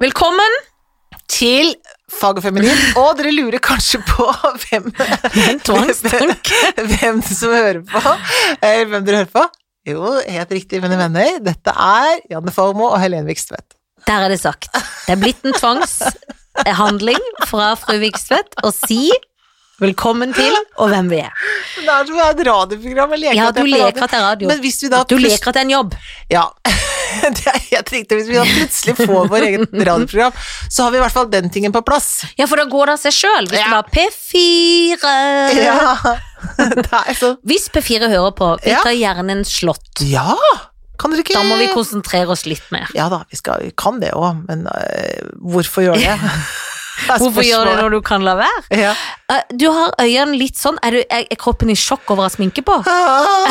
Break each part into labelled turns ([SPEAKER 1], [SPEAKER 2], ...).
[SPEAKER 1] Velkommen!
[SPEAKER 2] til Fag og feminin. Og dere lurer kanskje på hvem
[SPEAKER 1] En tvangstanke.
[SPEAKER 2] Hvem som hører på. Eller hvem dere hører på. Jo, helt riktig, mine venner. Dette er Janne Formoe og Helene Vikstvedt.
[SPEAKER 1] Der er det sagt. Det er blitt en tvangshandling fra fru Vikstvedt å si velkommen til og hvem vi er.
[SPEAKER 2] Men Det er som et radioprogram. Jeg leker
[SPEAKER 1] Ja,
[SPEAKER 2] at
[SPEAKER 1] du
[SPEAKER 2] jeg er på
[SPEAKER 1] leker
[SPEAKER 2] radio.
[SPEAKER 1] at det er radio.
[SPEAKER 2] Men hvis vi da
[SPEAKER 1] Du
[SPEAKER 2] plutselig-
[SPEAKER 1] leker at det er en jobb.
[SPEAKER 2] Ja, det er helt riktig. Hvis vi da plutselig får vår eget radioprogram, så har vi i hvert fall den tingen på plass.
[SPEAKER 1] Ja, for da går det av seg sjøl. Hvis det
[SPEAKER 2] Ja.
[SPEAKER 1] var P4
[SPEAKER 2] Ja. Det er så
[SPEAKER 1] Hvis P4 hører på, vi
[SPEAKER 2] Ja.
[SPEAKER 1] tar gjerne en slått.
[SPEAKER 2] Ja! Kan dere ikke
[SPEAKER 1] Da må vi konsentrere oss litt mer.
[SPEAKER 2] Ja da, vi, skal, vi kan det òg, men øh, hvorfor gjøre det? Det er
[SPEAKER 1] Hvorfor gjøre det
[SPEAKER 2] spørsmålet.
[SPEAKER 1] når du kan la være?
[SPEAKER 2] Ja.
[SPEAKER 1] Eh, Du har øynene litt sånn. Er, du, er er kroppen i sjokk over å ha sminke på?
[SPEAKER 2] Ah.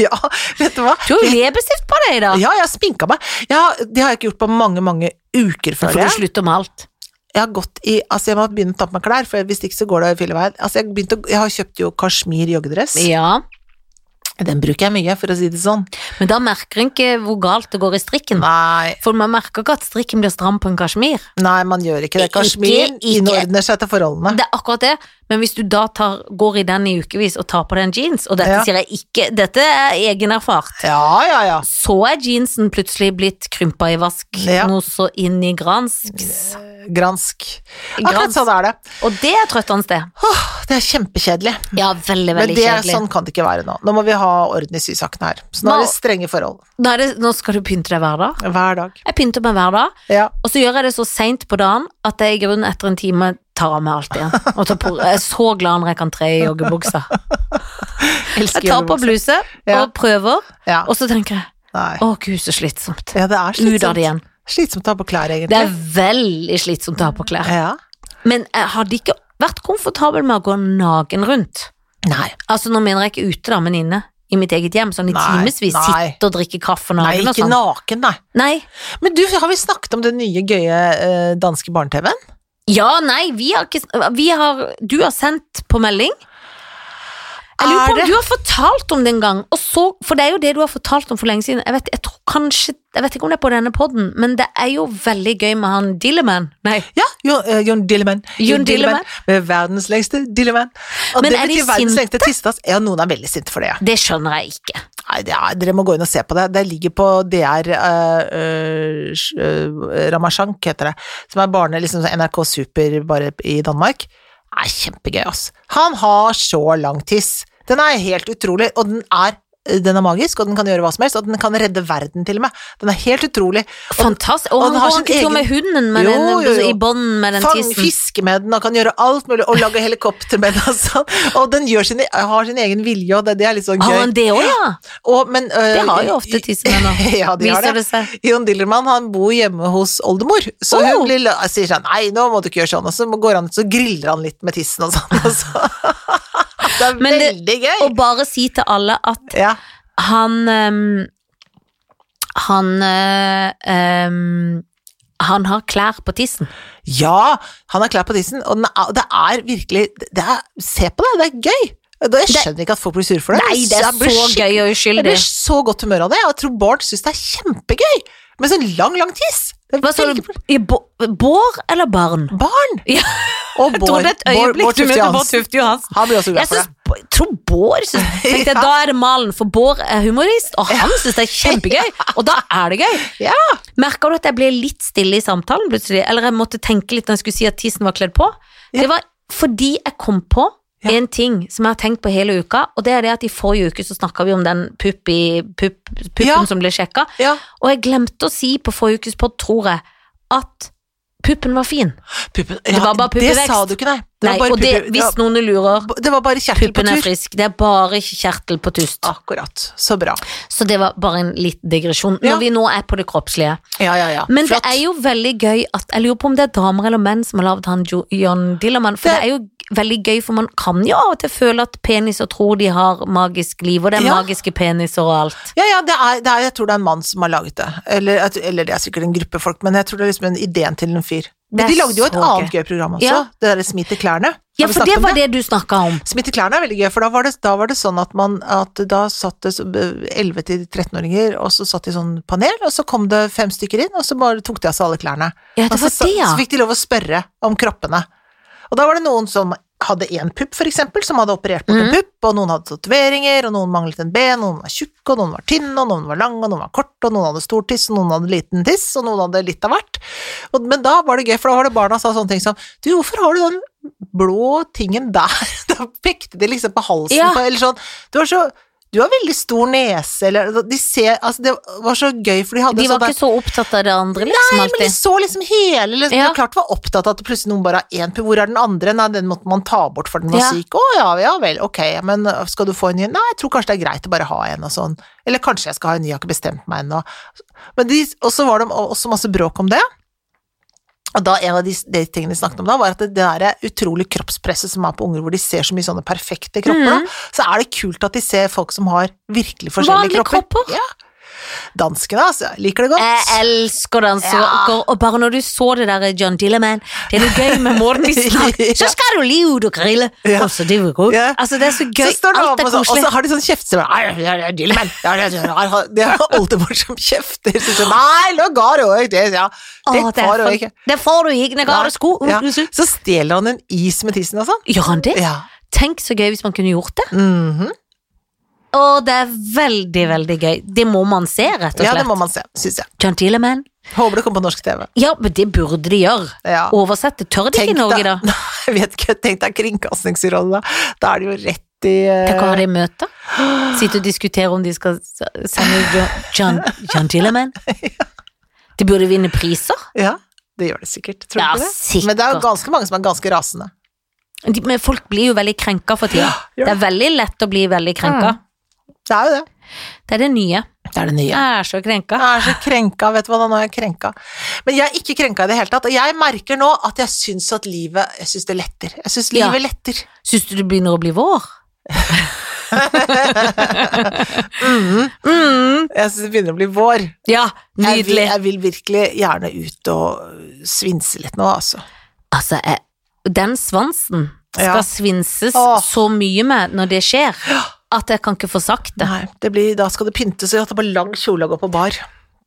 [SPEAKER 2] ja, vet du hva?
[SPEAKER 1] Du har jo leppestift på deg i dag.
[SPEAKER 2] Ja, jeg har sminka meg. Ja, det har jeg ikke gjort på mange, mange uker,
[SPEAKER 1] Får
[SPEAKER 2] føler
[SPEAKER 1] du
[SPEAKER 2] jeg.
[SPEAKER 1] slutte med alt?
[SPEAKER 2] Jeg har gått i, altså jeg må begynne å ta på meg klær, for hvis ikke så går det fille veien. Altså jeg, begynte å, jeg har kjøpt jo kasjmir joggedress.
[SPEAKER 1] Ja.
[SPEAKER 2] Den bruker jeg mye, for å si det sånn.
[SPEAKER 1] Men da merker en ikke hvor galt det går i strikken.
[SPEAKER 2] Nei,
[SPEAKER 1] For man merker ikke at strikken blir stram på en kasjmir.
[SPEAKER 2] nei man gjør ikke det.
[SPEAKER 1] Ikke-
[SPEAKER 2] Kasjmir
[SPEAKER 1] ikke.
[SPEAKER 2] innordner seg til forholdene.
[SPEAKER 1] Det er akkurat det. Men hvis du da tar, går i den i ukevis og tar på deg en jeans, og dette
[SPEAKER 2] Ja.
[SPEAKER 1] sier jeg ikke, dette er egenerfart,
[SPEAKER 2] Ja, ja, ja.
[SPEAKER 1] så er jeansen plutselig blitt krympa i vask,
[SPEAKER 2] Ja.
[SPEAKER 1] noe så inn i gransks.
[SPEAKER 2] Gransk.
[SPEAKER 1] Gransk.
[SPEAKER 2] Akkurat sånn er det.
[SPEAKER 1] Og det er trøttende det.
[SPEAKER 2] Åh, det er kjempekjedelig.
[SPEAKER 1] Ja, veldig,
[SPEAKER 2] Men
[SPEAKER 1] veldig
[SPEAKER 2] det,
[SPEAKER 1] kjedelig.
[SPEAKER 2] sånn kan det ikke være nå. Nå må vi ha orden i sysakene her. Så nå
[SPEAKER 1] Nå-
[SPEAKER 2] er det strenge forhold.
[SPEAKER 1] Nå, er det, nå skal du pynte deg hver dag.
[SPEAKER 2] Hver dag.
[SPEAKER 1] Jeg pynter meg hver dag,
[SPEAKER 2] Ja.
[SPEAKER 1] og så gjør jeg det så seint på dagen at jeg i grunnen etter en time tar av meg alt igjen. Og tar på, jeg er så glad når jeg kan tre i joggebuksa. Jeg tar på bluse
[SPEAKER 2] Ja.
[SPEAKER 1] og prøver,
[SPEAKER 2] Ja.
[SPEAKER 1] og så tenker jeg
[SPEAKER 2] Nei.
[SPEAKER 1] å gud, så slitsomt.
[SPEAKER 2] ja, det er
[SPEAKER 1] Ut av det igjen.
[SPEAKER 2] slitsomt. Slitsomt å ha på klær,
[SPEAKER 1] Det er
[SPEAKER 2] egentlig.
[SPEAKER 1] veldig slitsomt å ha på klær.
[SPEAKER 2] Ja.
[SPEAKER 1] Men jeg hadde ikke vært komfortabel med å gå naken rundt.
[SPEAKER 2] Nei.
[SPEAKER 1] Altså, nå mener jeg ikke ute, da, men inne. I mitt eget hjem, sånn i
[SPEAKER 2] Nei,
[SPEAKER 1] timevis.
[SPEAKER 2] nei.
[SPEAKER 1] Sitte og drikke kaffe
[SPEAKER 2] Nei,
[SPEAKER 1] naken og
[SPEAKER 2] ikke
[SPEAKER 1] sånn.
[SPEAKER 2] naken, nei.
[SPEAKER 1] Nei.
[SPEAKER 2] Men du, har vi snakket om den nye, gøye eh, danske barne-TV-en?
[SPEAKER 1] Ja, nei, vi har ikke sn- vi har, Du har sendt på melding. Jeg lurer på
[SPEAKER 2] Er
[SPEAKER 1] om
[SPEAKER 2] det-
[SPEAKER 1] du har fortalt om det en gang. Og så, for det er jo det du har fortalt om for lenge siden. Jeg vet, jeg tror kanskje, jeg vet ikke om det er på denne podden, men det er jo veldig gøy med han Dilleman. Nei.
[SPEAKER 2] Ja, Jon, eh, Jon Dilleman.
[SPEAKER 1] Jon Dilleman.
[SPEAKER 2] Med verdens lengste Dilleman. Og
[SPEAKER 1] Men
[SPEAKER 2] det
[SPEAKER 1] er de
[SPEAKER 2] betyr verdens
[SPEAKER 1] sinte?
[SPEAKER 2] lengste tistedass. Ja, noen er veldig sinte for det. ja.
[SPEAKER 1] Det skjønner jeg ikke.
[SPEAKER 2] Nei, det er, dere må gå inn og se på det. Det ligger på DR uh, Ramasjank, heter det. Som er barne, liksom sånn NRK Super bare i Danmark. Det er kjempegøy, ass. Han har så lang tiss. Den er helt utrolig, og den er den er magisk, og den kan gjøre hva som helst, og den kan redde verden til og med. Den er helt utrolig.
[SPEAKER 1] Fantastisk. Og
[SPEAKER 2] og
[SPEAKER 1] han
[SPEAKER 2] den har
[SPEAKER 1] går
[SPEAKER 2] sin
[SPEAKER 1] ikke tur
[SPEAKER 2] egen-
[SPEAKER 1] med hunden men
[SPEAKER 2] Jo,
[SPEAKER 1] den,
[SPEAKER 2] jo, jo.
[SPEAKER 1] i bånd med den
[SPEAKER 2] Fang
[SPEAKER 1] tissen.
[SPEAKER 2] fiske med den, og kan gjøre alt mulig, og lage helikopter med den, altså. Og den gjør sin, har sin egen vilje, og det, det er litt sånn gøy.
[SPEAKER 1] Har han det òg, ja?
[SPEAKER 2] Og, men, øh,
[SPEAKER 1] Det har jo ofte tissemenn òg.
[SPEAKER 2] ja, de har
[SPEAKER 1] Viser det seg.
[SPEAKER 2] Jon Dillermann han bor hjemme hos oldemor, så
[SPEAKER 1] Oh.
[SPEAKER 2] hun blir, la- sier sånn nei, nå må du ikke gjøre sånn, og så går han ut, så griller han litt med tissen og sånn. Og så. Det er
[SPEAKER 1] Men det-
[SPEAKER 2] veldig gøy.
[SPEAKER 1] Og bare si til alle at
[SPEAKER 2] ja.
[SPEAKER 1] han ehm, Han eh, ehm, Han har klær på tissen.
[SPEAKER 2] ja, han har klær på tissen, og den er, det er virkelig det er, Se på det, det er gøy. Da- Jeg skjønner ikke at folk blir sure for det.
[SPEAKER 1] Nei, det er
[SPEAKER 2] Jeg blir
[SPEAKER 1] så
[SPEAKER 2] skikkelig-
[SPEAKER 1] gøy og
[SPEAKER 2] Jeg
[SPEAKER 1] uskyldig.
[SPEAKER 2] blir så godt humør av det, og jeg tror barn syns det er kjempegøy med sånn lang, lang tiss. Det er
[SPEAKER 1] Hva sa du?
[SPEAKER 2] veldig-
[SPEAKER 1] I bo- Bård eller barn?
[SPEAKER 2] Barn!
[SPEAKER 1] Ja,
[SPEAKER 2] Og
[SPEAKER 1] jeg trodde et øyeblikk du mente Bård Tufte Johansen.
[SPEAKER 2] Han blir også glad
[SPEAKER 1] Jeg
[SPEAKER 2] for det.
[SPEAKER 1] synes, jeg tror Bård synes, tenkte jeg, Da er det malen, for Bård er humorist, og han syns det er kjempegøy. Og da er det gøy.
[SPEAKER 2] Ja.
[SPEAKER 1] Merka du at jeg ble litt stille i samtalen plutselig? Eller jeg måtte tenke litt når jeg skulle si at tissen var kledd på?
[SPEAKER 2] Ja.
[SPEAKER 1] Det var fordi jeg kom på
[SPEAKER 2] Ja.
[SPEAKER 1] en ting som jeg har tenkt på hele uka, og det er det at i forrige uke så snakka vi om den pupp i, pupp, puppen
[SPEAKER 2] Ja.
[SPEAKER 1] som ble sjekka,
[SPEAKER 2] Ja,
[SPEAKER 1] og jeg glemte å si på forrige ukes pod, tror jeg, at puppen var fin.
[SPEAKER 2] puppen.
[SPEAKER 1] Det var bare puppevekst.
[SPEAKER 2] Det sa du ikke, nei. Det
[SPEAKER 1] Nei,
[SPEAKER 2] var bare
[SPEAKER 1] og det,
[SPEAKER 2] pupper-
[SPEAKER 1] hvis
[SPEAKER 2] det,
[SPEAKER 1] noen lurer,
[SPEAKER 2] var, det var bare kjertel på
[SPEAKER 1] puppen er
[SPEAKER 2] tur.
[SPEAKER 1] frisk. Det er bare kjertel på tust.
[SPEAKER 2] Akkurat. Så bra.
[SPEAKER 1] Så det var bare en liten digresjon. Når
[SPEAKER 2] Ja.
[SPEAKER 1] vi nå er på det kroppslige.
[SPEAKER 2] Ja, ja, ja.
[SPEAKER 1] Men
[SPEAKER 2] Flott.
[SPEAKER 1] det er jo veldig gøy at Jeg lurer på om det er damer eller menn som har lagd han Jo- John Dillerman, for det,
[SPEAKER 2] Det-
[SPEAKER 1] er jo veldig gøy, for man kan jo av og til føle at peniser tror de har magisk liv, og det er
[SPEAKER 2] Ja.
[SPEAKER 1] magiske peniser og alt.
[SPEAKER 2] ja, ja, det er, det er, jeg tror det er en mann som har laget det. Eller, jeg tror- eller det er sikkert en gruppe folk, men jeg tror det er liksom en ideen til en fyr.
[SPEAKER 1] Det
[SPEAKER 2] Men de
[SPEAKER 1] er
[SPEAKER 2] lagde jo et
[SPEAKER 1] så
[SPEAKER 2] annet
[SPEAKER 1] gøy.
[SPEAKER 2] gøy program også,
[SPEAKER 1] Ja.
[SPEAKER 2] det derre Smi til klærne.
[SPEAKER 1] Ja,
[SPEAKER 2] Har vi
[SPEAKER 1] for
[SPEAKER 2] snakket
[SPEAKER 1] det
[SPEAKER 2] om
[SPEAKER 1] var det du snakka om.
[SPEAKER 2] Smitt i klærne er veldig gøy, for da var det, da var det sånn at man at Da satt det så- 11 til 13-åringer, og så satt de i sånn panel, og så kom det fem stykker inn, og så bare tok de av seg alle klærne.
[SPEAKER 1] Ja, det
[SPEAKER 2] og så,
[SPEAKER 1] var
[SPEAKER 2] sa-
[SPEAKER 1] det, ja.
[SPEAKER 2] så fikk de lov å spørre om kroppene. Og da var det noen som hadde én pupp, for eksempel, som hadde operert
[SPEAKER 1] Mhm.
[SPEAKER 2] bort en pupp, og noen hadde tatoveringer, og noen manglet en ben, noen var tjukke, og noen var tynne, og noen var lange, og noen var korte, og noen hadde stor tiss, og noen hadde liten tiss, og noen hadde litt av hvert. Og, men da var det gøy, for da var det barna sa sånne ting som Du, hvorfor har du den blå tingen der? Da pekte de liksom på halsen
[SPEAKER 1] Ja.
[SPEAKER 2] på, eller sånn. Du har så Du har veldig stor nese, eller De ser Altså, det var så gøy, for de hadde
[SPEAKER 1] De var
[SPEAKER 2] sånn der-
[SPEAKER 1] ikke så opptatt av det andre, liksom,
[SPEAKER 2] men de
[SPEAKER 1] alltid.
[SPEAKER 2] så liksom hele liksom,
[SPEAKER 1] Ja.
[SPEAKER 2] Det er klart de var opptatt av at plutselig noen bare har én pupp. Hvor er den andre? Nei, den måtte man ta bort for den var
[SPEAKER 1] Ja.
[SPEAKER 2] syk. Å ja, ja vel, ok, men øh, skal du få en ny? Nei, jeg tror kanskje det er greit å bare ha en og sånn. Eller kanskje jeg skal ha en ny, jeg har ikke bestemt meg ennå. Men de, og så var det også masse bråk om det. Og da, en av de, de tingene de snakket om da, var at det, det der utrolig kroppspresset som er på unger, hvor de ser så mye sånne perfekte kropper,
[SPEAKER 1] Mhm.
[SPEAKER 2] da, så er det kult at de ser folk som har virkelig forskjellige
[SPEAKER 1] Vanlige Eh,
[SPEAKER 2] kropper.
[SPEAKER 1] kropper.
[SPEAKER 2] Ja. Danskene, altså. Liker det godt.
[SPEAKER 1] Jeg elsker danser,
[SPEAKER 2] Ja.
[SPEAKER 1] og bare når du så det der eh, John Dilleman Det er noe gøy med måten de snakker Så skal du le ut og grille
[SPEAKER 2] Ja.
[SPEAKER 1] Og så det var godt.
[SPEAKER 2] Ja.
[SPEAKER 1] Altså, det er så gøy.
[SPEAKER 2] Så står det
[SPEAKER 1] Alt
[SPEAKER 2] oppe,
[SPEAKER 1] er
[SPEAKER 2] og så, og
[SPEAKER 1] koselig.
[SPEAKER 2] så har de sånn kjeftestemme. «Ai, jeg er Dylan, jeg er Dylan». De har oldemor som kjefter. Så sier, Nei, nå ga det òg det, ja. Det
[SPEAKER 1] Å, det,
[SPEAKER 2] var
[SPEAKER 1] er
[SPEAKER 2] det
[SPEAKER 1] for-
[SPEAKER 2] ikke.
[SPEAKER 1] det får du ikke når jeg har
[SPEAKER 2] Nei.
[SPEAKER 1] sko.
[SPEAKER 2] Ja. Så stjeler han en is med tissen og sånn.
[SPEAKER 1] Gjør han det?
[SPEAKER 2] Ja.
[SPEAKER 1] Tenk så gøy hvis man kunne gjort det.
[SPEAKER 2] Mhm.
[SPEAKER 1] Og det er veldig, veldig gøy. Det må man se, rett og
[SPEAKER 2] ja, det
[SPEAKER 1] slett.
[SPEAKER 2] må man se, syns jeg.
[SPEAKER 1] John Dilleman.
[SPEAKER 2] Håper det kommer på norsk TV.
[SPEAKER 1] Ja, men det burde de gjøre.
[SPEAKER 2] Ja.
[SPEAKER 1] Oversette. Tør de ikke i Norge, da?
[SPEAKER 2] deg- Jeg vet ikke, tenk deg Kringkastingsrådet, da. Da er det jo rett i eh,
[SPEAKER 1] Tenk å ha det i møte. Sitte og diskutere om de skal s- sende Jo- John, John Dilleman. De burde vinne priser.
[SPEAKER 2] Ja, det gjør det sikkert. Tror
[SPEAKER 1] Ja,
[SPEAKER 2] du ikke det?
[SPEAKER 1] sikkert.
[SPEAKER 2] Men det er jo ganske mange som er ganske rasende.
[SPEAKER 1] De, men folk blir jo veldig krenka for tida.
[SPEAKER 2] Ja. Mm.
[SPEAKER 1] Det er veldig lett å bli veldig krenka.
[SPEAKER 2] Det er jo det.
[SPEAKER 1] Det er det nye.
[SPEAKER 2] Det er det nye.
[SPEAKER 1] Jeg er så krenka.
[SPEAKER 2] Jeg er så krenka, vet du hva, da nå er jeg krenka. Men jeg er ikke krenka i det hele tatt, og jeg merker nå at jeg syns at livet Jeg syns det letter. Jeg syns
[SPEAKER 1] Ja.
[SPEAKER 2] livet letter.
[SPEAKER 1] Syns du det begynner å bli vår?
[SPEAKER 2] Jeg syns det begynner å bli vår.
[SPEAKER 1] Ja,
[SPEAKER 2] Jeg vil,
[SPEAKER 1] nydelig.
[SPEAKER 2] jeg vil virkelig gjerne ut og øh, svinse litt nå, altså.
[SPEAKER 1] Altså, jeg, den svansen skal
[SPEAKER 2] Ja.
[SPEAKER 1] svinses
[SPEAKER 2] Åh.
[SPEAKER 1] så mye med når det skjer, at jeg kan ikke få sagt det.
[SPEAKER 2] Nei, det blir, da skal det pyntes, og jeg tar på lang kjole og gå på bar.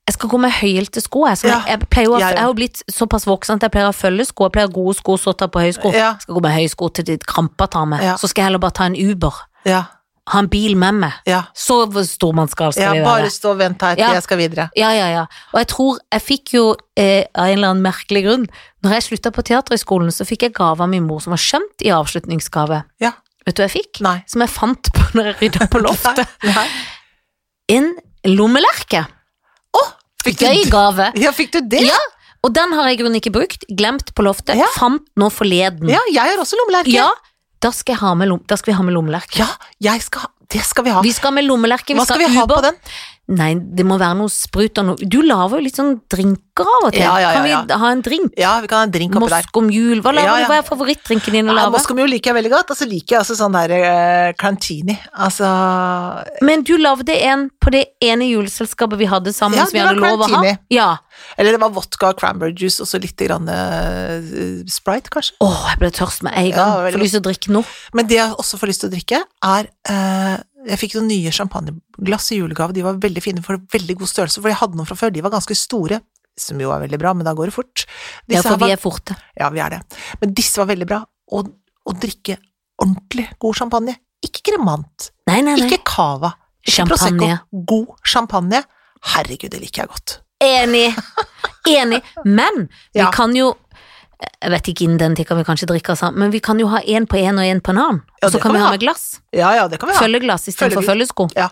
[SPEAKER 1] Jeg skal gå med høyhælte sko. Jeg, skal,
[SPEAKER 2] Ja,
[SPEAKER 1] jeg, pleier jo, å-
[SPEAKER 2] jeg
[SPEAKER 1] jeg har
[SPEAKER 2] jo.
[SPEAKER 1] jo blitt såpass voksen at jeg pleier å følge sko. Jeg pleier å ha gode sko, så ta på høysko.
[SPEAKER 2] Ja.
[SPEAKER 1] Jeg skal gå med høysko til de kramper tar meg.
[SPEAKER 2] Ja.
[SPEAKER 1] Så skal jeg heller bare ta en Uber.
[SPEAKER 2] Ja,
[SPEAKER 1] Ha en bil med meg.
[SPEAKER 2] ja.
[SPEAKER 1] Så stormannsgal skal
[SPEAKER 2] ja
[SPEAKER 1] vi
[SPEAKER 2] bare
[SPEAKER 1] være.
[SPEAKER 2] stå og vent her til
[SPEAKER 1] Ja.
[SPEAKER 2] jeg skal videre.
[SPEAKER 1] Ja, ja, ja. Og jeg tror jeg fikk jo, eh, av en eller annen merkelig grunn, når jeg slutta på Teaterhøgskolen, så fikk jeg gave av min mor som var skjønt i avslutningsgave.
[SPEAKER 2] Ja.
[SPEAKER 1] Vet du hva jeg fikk?
[SPEAKER 2] Nei.
[SPEAKER 1] Som jeg fant på når jeg rydda på loftet.
[SPEAKER 2] Nei, nei.
[SPEAKER 1] En lommelerke.
[SPEAKER 2] Fikk
[SPEAKER 1] Gøy
[SPEAKER 2] du,
[SPEAKER 1] gave.
[SPEAKER 2] ja, fikk du det?
[SPEAKER 1] Ja. Og den har jeg i grunnen ikke brukt. Glemt på loftet.
[SPEAKER 2] Ja.
[SPEAKER 1] Fant nå forleden.
[SPEAKER 2] Ja, jeg har også lommelerke.
[SPEAKER 1] Ja, da skal, jeg ha med lom, da skal vi ha med lommelerke.
[SPEAKER 2] Ja, jeg skal, ha- det skal vi ha.
[SPEAKER 1] Vi skal ha med lommelerke.
[SPEAKER 2] Hva skal vi ha på den?
[SPEAKER 1] Nei, det må være noe sprut og noe Du lager jo litt sånn drinker av og til.
[SPEAKER 2] Ja, ja, ja, ja.
[SPEAKER 1] Kan vi ha en drink?
[SPEAKER 2] Ja, vi kan ha en drink oppi der.
[SPEAKER 1] Moskomjul. Hva, lager
[SPEAKER 2] Ja,
[SPEAKER 1] du?
[SPEAKER 2] ja.
[SPEAKER 1] Hva er favorittdrinken din å
[SPEAKER 2] Ja,
[SPEAKER 1] lage?
[SPEAKER 2] Moskomjul liker jeg veldig godt, og så liker jeg også sånn der eh, Crantini. Altså
[SPEAKER 1] Men du lagde en på det ene juleselskapet vi hadde sammen,
[SPEAKER 2] Ja,
[SPEAKER 1] som vi
[SPEAKER 2] det var
[SPEAKER 1] hadde lov å ha.
[SPEAKER 2] Crantini.
[SPEAKER 1] Ja.
[SPEAKER 2] Eller det var vodka og cranberry juice, og så litt grann, eh, Sprite, kanskje.
[SPEAKER 1] Åh, jeg ble tørst med en
[SPEAKER 2] Ja,
[SPEAKER 1] gang.
[SPEAKER 2] veldig
[SPEAKER 1] Får lyst til å drikke nå.
[SPEAKER 2] Men det jeg også får lyst til å drikke, er eh, Jeg fikk noen nye champagneglass i julegave, de var veldig fine for veldig god størrelse, for jeg hadde noen fra før, de var ganske store. Som jo er veldig bra, men da går det fort.
[SPEAKER 1] Ja,
[SPEAKER 2] Disse her
[SPEAKER 1] for vi
[SPEAKER 2] var,
[SPEAKER 1] er forte.
[SPEAKER 2] ja, vi er det. Men disse var veldig bra. Og å drikke ordentlig god champagne. Ikke kremant,
[SPEAKER 1] Nei, nei, nei.
[SPEAKER 2] ikke cava, ikke prosecco.
[SPEAKER 1] Champagne.
[SPEAKER 2] God champagne. Herregud, det liker jeg godt.
[SPEAKER 1] Enig. Enig. Men vi
[SPEAKER 2] Ja.
[SPEAKER 1] kan jo Jeg vet ikke innen den tid kan vi kanskje drikke oss sammen, men vi kan jo ha én på én og én på en annen.
[SPEAKER 2] Ja,
[SPEAKER 1] og så kan
[SPEAKER 2] det kan
[SPEAKER 1] vi
[SPEAKER 2] vi
[SPEAKER 1] ha
[SPEAKER 2] ha.
[SPEAKER 1] med glass.
[SPEAKER 2] Ja, ja, det kan vi ha.
[SPEAKER 1] Følgeglass istedenfor følgesko.
[SPEAKER 2] Ja.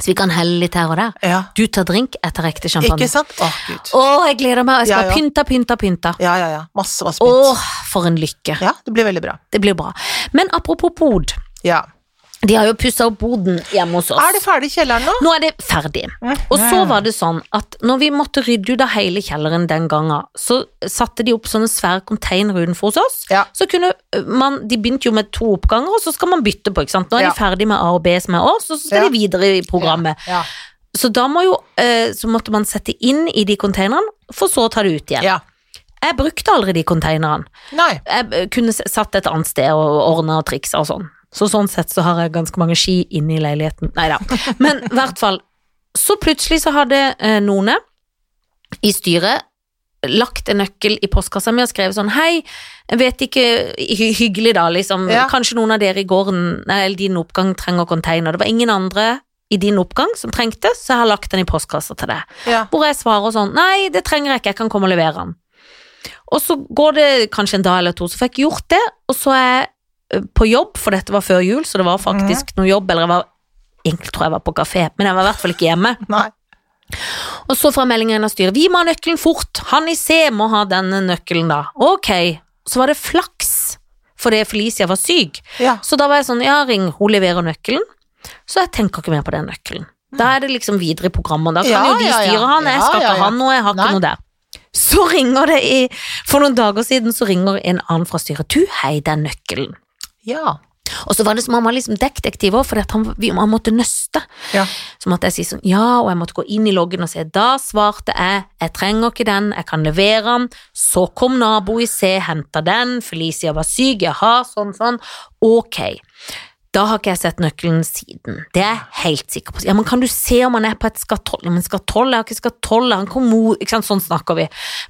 [SPEAKER 1] Så vi kan helle litt her og der.
[SPEAKER 2] Ja.
[SPEAKER 1] Du tar drink, jeg tar ekte champagne.
[SPEAKER 2] Ikke sant? Å, gud.
[SPEAKER 1] Å, jeg gleder meg. Jeg skal
[SPEAKER 2] Ja, ja.
[SPEAKER 1] pynte, pynte, pynte.
[SPEAKER 2] Ja, ja, ja. Masse, masse
[SPEAKER 1] Å,
[SPEAKER 2] pynt.
[SPEAKER 1] for en lykke.
[SPEAKER 2] Ja, det blir veldig bra.
[SPEAKER 1] Det blir bra. Men apropos bod.
[SPEAKER 2] Ja.
[SPEAKER 1] De har jo pussa opp boden hjemme hos oss.
[SPEAKER 2] Er det ferdig i kjelleren nå?
[SPEAKER 1] Nå er det ferdig. Og så var det sånn at når vi måtte rydde ut av hele kjelleren den gangen, så satte de opp sånne svære containere utenfor hos oss.
[SPEAKER 2] Ja.
[SPEAKER 1] Så kunne man, De begynte jo med to oppganger, og så skal man bytte på. ikke sant? Nå er
[SPEAKER 2] Ja.
[SPEAKER 1] de ferdig med A og B, som er oss, og så skal
[SPEAKER 2] Ja.
[SPEAKER 1] de videre i programmet.
[SPEAKER 2] Ja.
[SPEAKER 1] Så da må jo, eh, så måtte man sette inn i de containerne, for så å ta det ut igjen.
[SPEAKER 2] ja.
[SPEAKER 1] Jeg brukte aldri de konteinerne.
[SPEAKER 2] Nei.
[SPEAKER 1] Jeg eh, kunne s- satt et annet sted og ordna og triksa og sånn. Så sånn sett så har jeg ganske mange ski inne i leiligheten. Nei da. Men i hvert fall. Så plutselig så hadde eh, None i styret lagt en nøkkel i postkassa mi og skrevet sånn Hei, jeg vet ikke hy Hyggelig, da, liksom.
[SPEAKER 2] Ja.
[SPEAKER 1] Kanskje noen av dere i gården nei, eller din oppgang trenger konteiner. Det var ingen andre i din oppgang som trengte, så jeg har lagt den i postkassa til deg.
[SPEAKER 2] Ja.
[SPEAKER 1] Hvor jeg svarer sånn Nei, det trenger jeg ikke, jeg kan komme og levere den. Og så går det kanskje en dag eller to, så fikk jeg gjort det, og så er jeg eh, på jobb, for dette var før jul, så det var faktisk noe jobb, eller jeg var Egentlig tror jeg var på kafé, men jeg var i hvert fall ikke hjemme.
[SPEAKER 2] Nei.
[SPEAKER 1] Og så får jeg meldingen av styret. Vi må ha nøkkelen fort! Han i C må ha denne nøkkelen, da. Ok. Så var det flaks, fordi Felicia var syk.
[SPEAKER 2] Ja.
[SPEAKER 1] Så da var jeg sånn, ja, ring, hun leverer nøkkelen. Så jeg tenker ikke mer på den nøkkelen. Da er det liksom videre i programmet, da kan
[SPEAKER 2] Ja,
[SPEAKER 1] jo de
[SPEAKER 2] ja, ja.
[SPEAKER 1] styre han, jeg
[SPEAKER 2] Ja,
[SPEAKER 1] skal
[SPEAKER 2] ja, ja.
[SPEAKER 1] ikke ha noe, jeg har ikke
[SPEAKER 2] Nei.
[SPEAKER 1] noe der. Så ringer det i, for noen dager siden, så ringer en annen fra styret, du, hei, det er nøkkelen.
[SPEAKER 2] Ja.
[SPEAKER 1] Og så var det som om han var liksom detektiv også, fordi at han, vi, han måtte nøste.
[SPEAKER 2] Ja.
[SPEAKER 1] Så måtte jeg si sånn, ja, og jeg måtte gå inn i loggen og se. Da svarte jeg, jeg trenger ikke den, jeg kan levere den. Så kom nabo i C, hentet den, Felicia var syk, jaha, sånn, sånn. Ok, da har ikke jeg sett nøkkelen siden. Det er jeg helt sikker på. Ja, men kan du se om han er på et skatoll? Ja, men skatoll, jeg har ikke skatoll, han kom mot, ikke sant, sånn snakker vi.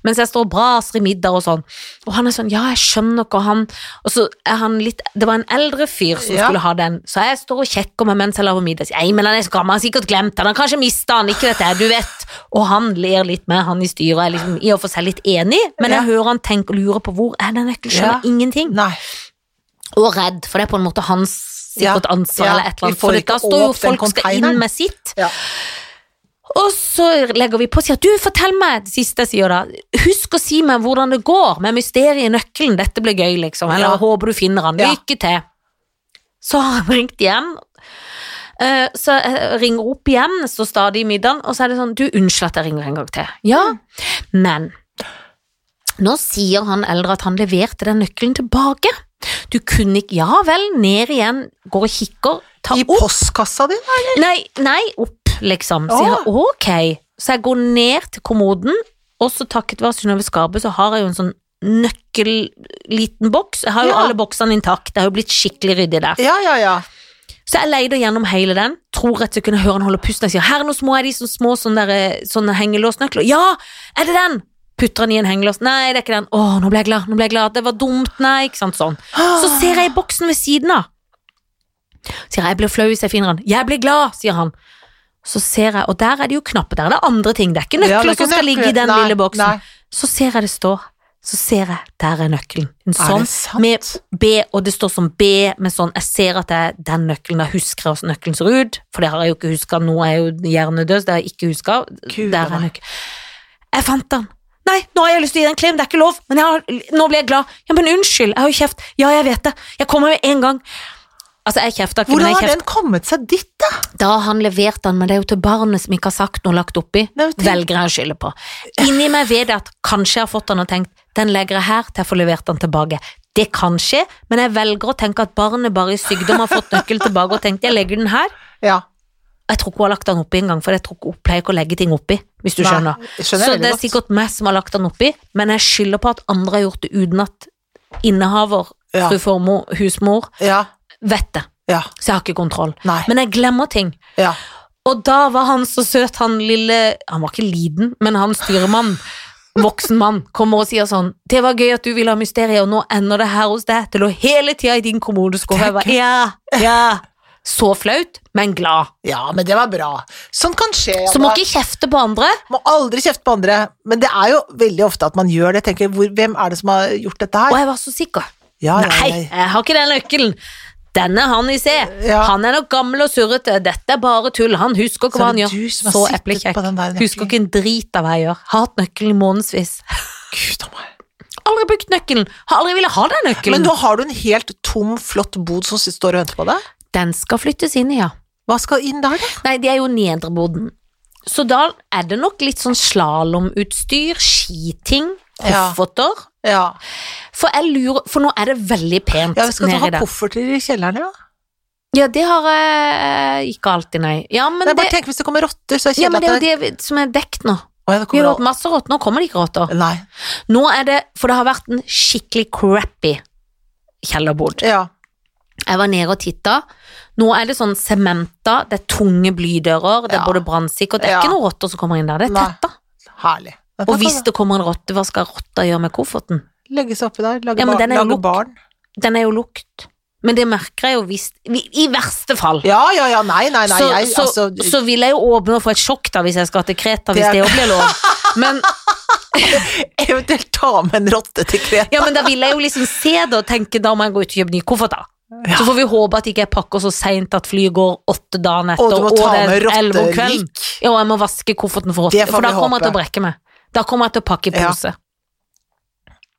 [SPEAKER 1] Mens jeg står og braser i middag og sånn. Og han er sånn, ja, jeg skjønner ikke, og han, og så er han litt, det var en eldre fyr som
[SPEAKER 2] Ja.
[SPEAKER 1] skulle ha den, så jeg står og kjekker meg mens jeg laver middag. Nei, men han er så gammel, han har sikkert glemt den, han har kanskje mistet den, ikke vet jeg, du vet. Og han ler litt med, han i styret, er liksom i og for seg litt enig, men
[SPEAKER 2] Ja.
[SPEAKER 1] jeg hører han tenke og lure på hvor er den nøkkelen, skjønner
[SPEAKER 2] Ja.
[SPEAKER 1] ingenting
[SPEAKER 2] Nei.
[SPEAKER 1] og redd, for det er på en måte hans sikkert
[SPEAKER 2] Ja,
[SPEAKER 1] ansvar
[SPEAKER 2] ja,
[SPEAKER 1] eller et eller
[SPEAKER 2] vi
[SPEAKER 1] annet,
[SPEAKER 2] får
[SPEAKER 1] for
[SPEAKER 2] ikke
[SPEAKER 1] da står jo
[SPEAKER 2] åpne den
[SPEAKER 1] folk skal
[SPEAKER 2] containeren.
[SPEAKER 1] inn med sitt.
[SPEAKER 2] Ja.
[SPEAKER 1] Og så legger vi på og sier, du fortell meg, det siste jeg sier da, husk å si meg hvordan det går med mysteriet i nøkkelen, dette blir gøy liksom, eller
[SPEAKER 2] Ja.
[SPEAKER 1] håper du finner han,
[SPEAKER 2] Ja.
[SPEAKER 1] lykke til. Så har han ringt hjem, Eh, så jeg ringer opp igjen, står stadig i middagen, og så er det sånn, du unnskyld at jeg ringer en gang til. Ja, men nå sier han eldre at han leverte den nøkkelen tilbake. Du kunne ikke, ja vel, ned igjen, går og kikker, tar
[SPEAKER 2] I
[SPEAKER 1] opp.
[SPEAKER 2] postkassa di? Nei.
[SPEAKER 1] Nei, nei, opp, liksom. Så
[SPEAKER 2] Å.
[SPEAKER 1] jeg, ok. Så jeg går ned til kommoden, og så takket være Synnøve Skarbø, så har jeg jo en sånn nøkkelliten boks. Jeg har jo
[SPEAKER 2] Ja.
[SPEAKER 1] alle boksene intakt, det har jo blitt skikkelig ryddig der.
[SPEAKER 2] Ja, ja, ja.
[SPEAKER 1] Så jeg leide gjennom hele den, tror at jeg kunne høre han holde pusten. Jeg sier, her er noen små, er de sånne små sånne, der, eh, sånne hengelåsnøkler? Ja, er det den? Putter han i en hengelås? Nei, det er ikke den. Å, nå ble jeg glad, nå ble jeg glad. Det var dumt, nei, ikke sant, sånn. Så ser jeg i boksen ved siden av. Sier jeg, jeg blir flau hvis jeg finner han. Jeg blir glad, sier han. Så ser jeg, og der er det jo knapper der, er det er andre ting. Det er ikke
[SPEAKER 2] Ja,
[SPEAKER 1] nøkler
[SPEAKER 2] det er ikke
[SPEAKER 1] som skal ligge i den
[SPEAKER 2] nøkler. Nei,
[SPEAKER 1] lille boksen.
[SPEAKER 2] nei.
[SPEAKER 1] Så ser jeg det står, så ser jeg, der er nøkkelen. En
[SPEAKER 2] Er
[SPEAKER 1] sånn
[SPEAKER 2] det sant?
[SPEAKER 1] med B, og det står som B med sånn Jeg ser at det er den nøkkelen, jeg husker hvordan nøkkelen ser ut, for det har jeg jo ikke huska, nå er jeg jo hjernedød, så det har jeg ikke huska.
[SPEAKER 2] Gud,
[SPEAKER 1] Der
[SPEAKER 2] nei.
[SPEAKER 1] er nøkkelen. Jeg fant den! Nei, nå har jeg lyst til å gi deg en klem, det er ikke lov, men jeg har, nå blir jeg glad. Ja, men unnskyld, jeg har jo kjeft. Ja, jeg vet det. Jeg kommer med en gang. Altså, jeg kjefta ikke, men
[SPEAKER 2] Hvordan
[SPEAKER 1] jeg
[SPEAKER 2] har
[SPEAKER 1] kjefta.
[SPEAKER 2] den kommet seg dit, da?
[SPEAKER 1] Da har han levert den, men det er jo til barnet som ikke har sagt noe lagt oppi.
[SPEAKER 2] Nei, men tenk-
[SPEAKER 1] Velger jeg å skylde på. Inni meg vet jeg at kanskje jeg har fått den og tenkt den legger jeg her til jeg får levert den tilbake. Det kan skje, men jeg velger å tenke at barnet bare i sykdom har fått nøkkelen tilbake og tenkt jeg legger den her.
[SPEAKER 2] Ja.
[SPEAKER 1] Jeg tror ikke hun har lagt den oppi engang, for jeg tror ikke hun pleier ikke å legge ting oppi. Hvis du
[SPEAKER 2] Nei,
[SPEAKER 1] skjønner.
[SPEAKER 2] jeg skjønner
[SPEAKER 1] Så
[SPEAKER 2] veldig
[SPEAKER 1] det er
[SPEAKER 2] godt.
[SPEAKER 1] sikkert meg som har lagt den oppi, men jeg skylder på at andre har gjort det uten at innehaver,
[SPEAKER 2] Ja.
[SPEAKER 1] fru formor, husmor,
[SPEAKER 2] Ja.
[SPEAKER 1] vet det.
[SPEAKER 2] Ja.
[SPEAKER 1] Så jeg har ikke kontroll.
[SPEAKER 2] Nei.
[SPEAKER 1] Men jeg glemmer ting.
[SPEAKER 2] Ja.
[SPEAKER 1] Og da var han så søt, han lille Han var ikke liten, men han styremann, voksen mann, kommer og sier sånn 'Det var gøy at du ville ha mysteriet, og nå ender det her hos deg.' Det lå hele tida i din kommodeskuffe. Jeg bare, Ja, ja. Så flaut, men glad.
[SPEAKER 2] ja, men det var bra. Sånn kan skje.
[SPEAKER 1] Så må
[SPEAKER 2] Anna.
[SPEAKER 1] ikke kjefte på andre.
[SPEAKER 2] Må aldri kjefte på andre, men det er jo veldig ofte at man gjør det. Tenker, hvor, hvem er det som har gjort dette
[SPEAKER 1] Og
[SPEAKER 2] her?
[SPEAKER 1] jeg var så sikker.
[SPEAKER 2] Ja, ja,
[SPEAKER 1] Nei,
[SPEAKER 2] ja, ja.
[SPEAKER 1] jeg har ikke den nøkkelen. Denne han i C.
[SPEAKER 2] Ja.
[SPEAKER 1] Han er nok gammel og surrete. Dette er bare tull. Han husker
[SPEAKER 2] Så
[SPEAKER 1] ikke hva
[SPEAKER 2] er
[SPEAKER 1] han
[SPEAKER 2] det
[SPEAKER 1] gjør.
[SPEAKER 2] du som har
[SPEAKER 1] Så
[SPEAKER 2] sittet
[SPEAKER 1] eplekjekk.
[SPEAKER 2] på den der nøkkelen.
[SPEAKER 1] Husker ikke en drit av hva jeg gjør. Har hatt nøkkelen i månedsvis.
[SPEAKER 2] Gud a meg.
[SPEAKER 1] Aldri brukt nøkkelen. Har aldri villet ha den
[SPEAKER 2] Men
[SPEAKER 1] nøkkelen.
[SPEAKER 2] nå har du en helt tom, flott bod som står og venter på deg.
[SPEAKER 1] Den skal flyttes inn, ja.
[SPEAKER 2] Hva skal inn der, da?
[SPEAKER 1] Nei, det er jo nedreboden. Så da er det nok litt sånn slalåmutstyr, skiting,
[SPEAKER 2] Ja.
[SPEAKER 1] kofferter.
[SPEAKER 2] Ja,
[SPEAKER 1] For jeg lurer, for nå er det veldig pent
[SPEAKER 2] ja vi skal ta
[SPEAKER 1] nedi
[SPEAKER 2] ha
[SPEAKER 1] der.
[SPEAKER 2] kofferter i kjelleren, ja.
[SPEAKER 1] Ja, det har jeg ikke alltid, nei. Ja, men
[SPEAKER 2] Nei,
[SPEAKER 1] det,
[SPEAKER 2] bare tenk hvis det kommer rotter, så er det
[SPEAKER 1] ja, men
[SPEAKER 2] kjedelig
[SPEAKER 1] det er
[SPEAKER 2] at det
[SPEAKER 1] jo det vi- som er dekt nå.
[SPEAKER 2] Å ja, det
[SPEAKER 1] Vi
[SPEAKER 2] kommer
[SPEAKER 1] har hatt masse rotter, nå kommer det ikke rotter.
[SPEAKER 2] al- Nei.
[SPEAKER 1] Nå er det, for det har vært en skikkelig crappy kjellerbod.
[SPEAKER 2] Ja.
[SPEAKER 1] Jeg var nede og titta. Nå er det sånn sementa, det er tunge blydører, det er
[SPEAKER 2] Ja.
[SPEAKER 1] både brannsikkert, det er
[SPEAKER 2] Ja.
[SPEAKER 1] ikke noen rotter som kommer inn der, det er
[SPEAKER 2] Nei.
[SPEAKER 1] tetta.
[SPEAKER 2] Herlig. Dette
[SPEAKER 1] Og
[SPEAKER 2] kan
[SPEAKER 1] hvis det kommer en rotte, hva skal rotta gjøre med kofferten?
[SPEAKER 2] Legge seg oppi der, lage,
[SPEAKER 1] Ja, men
[SPEAKER 2] barn,
[SPEAKER 1] den er jo
[SPEAKER 2] lage
[SPEAKER 1] lukk.
[SPEAKER 2] barn.
[SPEAKER 1] Den er jo lukt. Men det merker jeg jo hvis I i verste fall.
[SPEAKER 2] Ja, ja, ja, nei, nei, nei,
[SPEAKER 1] så,
[SPEAKER 2] jeg
[SPEAKER 1] så,
[SPEAKER 2] altså
[SPEAKER 1] så vil jeg jo åpne og få et sjokk da hvis jeg skal til Kreta, hvis
[SPEAKER 2] Det er-
[SPEAKER 1] det òg blir lov. Men,
[SPEAKER 2] Eventuelt ta med en rotte til Kreta.
[SPEAKER 1] ja, men da vil jeg jo liksom se det og tenke da må jeg gå ut og kjøpe ny koffert, da. Så får vi håpe at ikke jeg pakker så seint at flyet går åtte dagen etter,
[SPEAKER 2] Og du må ta
[SPEAKER 1] det er
[SPEAKER 2] med
[SPEAKER 1] elleve om kvelden.
[SPEAKER 2] rottelik.
[SPEAKER 1] Ja, og jeg må vaske kofferten for rotte,
[SPEAKER 2] Det får
[SPEAKER 1] for da
[SPEAKER 2] vi
[SPEAKER 1] kommer jeg til å
[SPEAKER 2] håpe.
[SPEAKER 1] brekke meg. Da kommer jeg til å pakke i
[SPEAKER 2] Ja.
[SPEAKER 1] pose.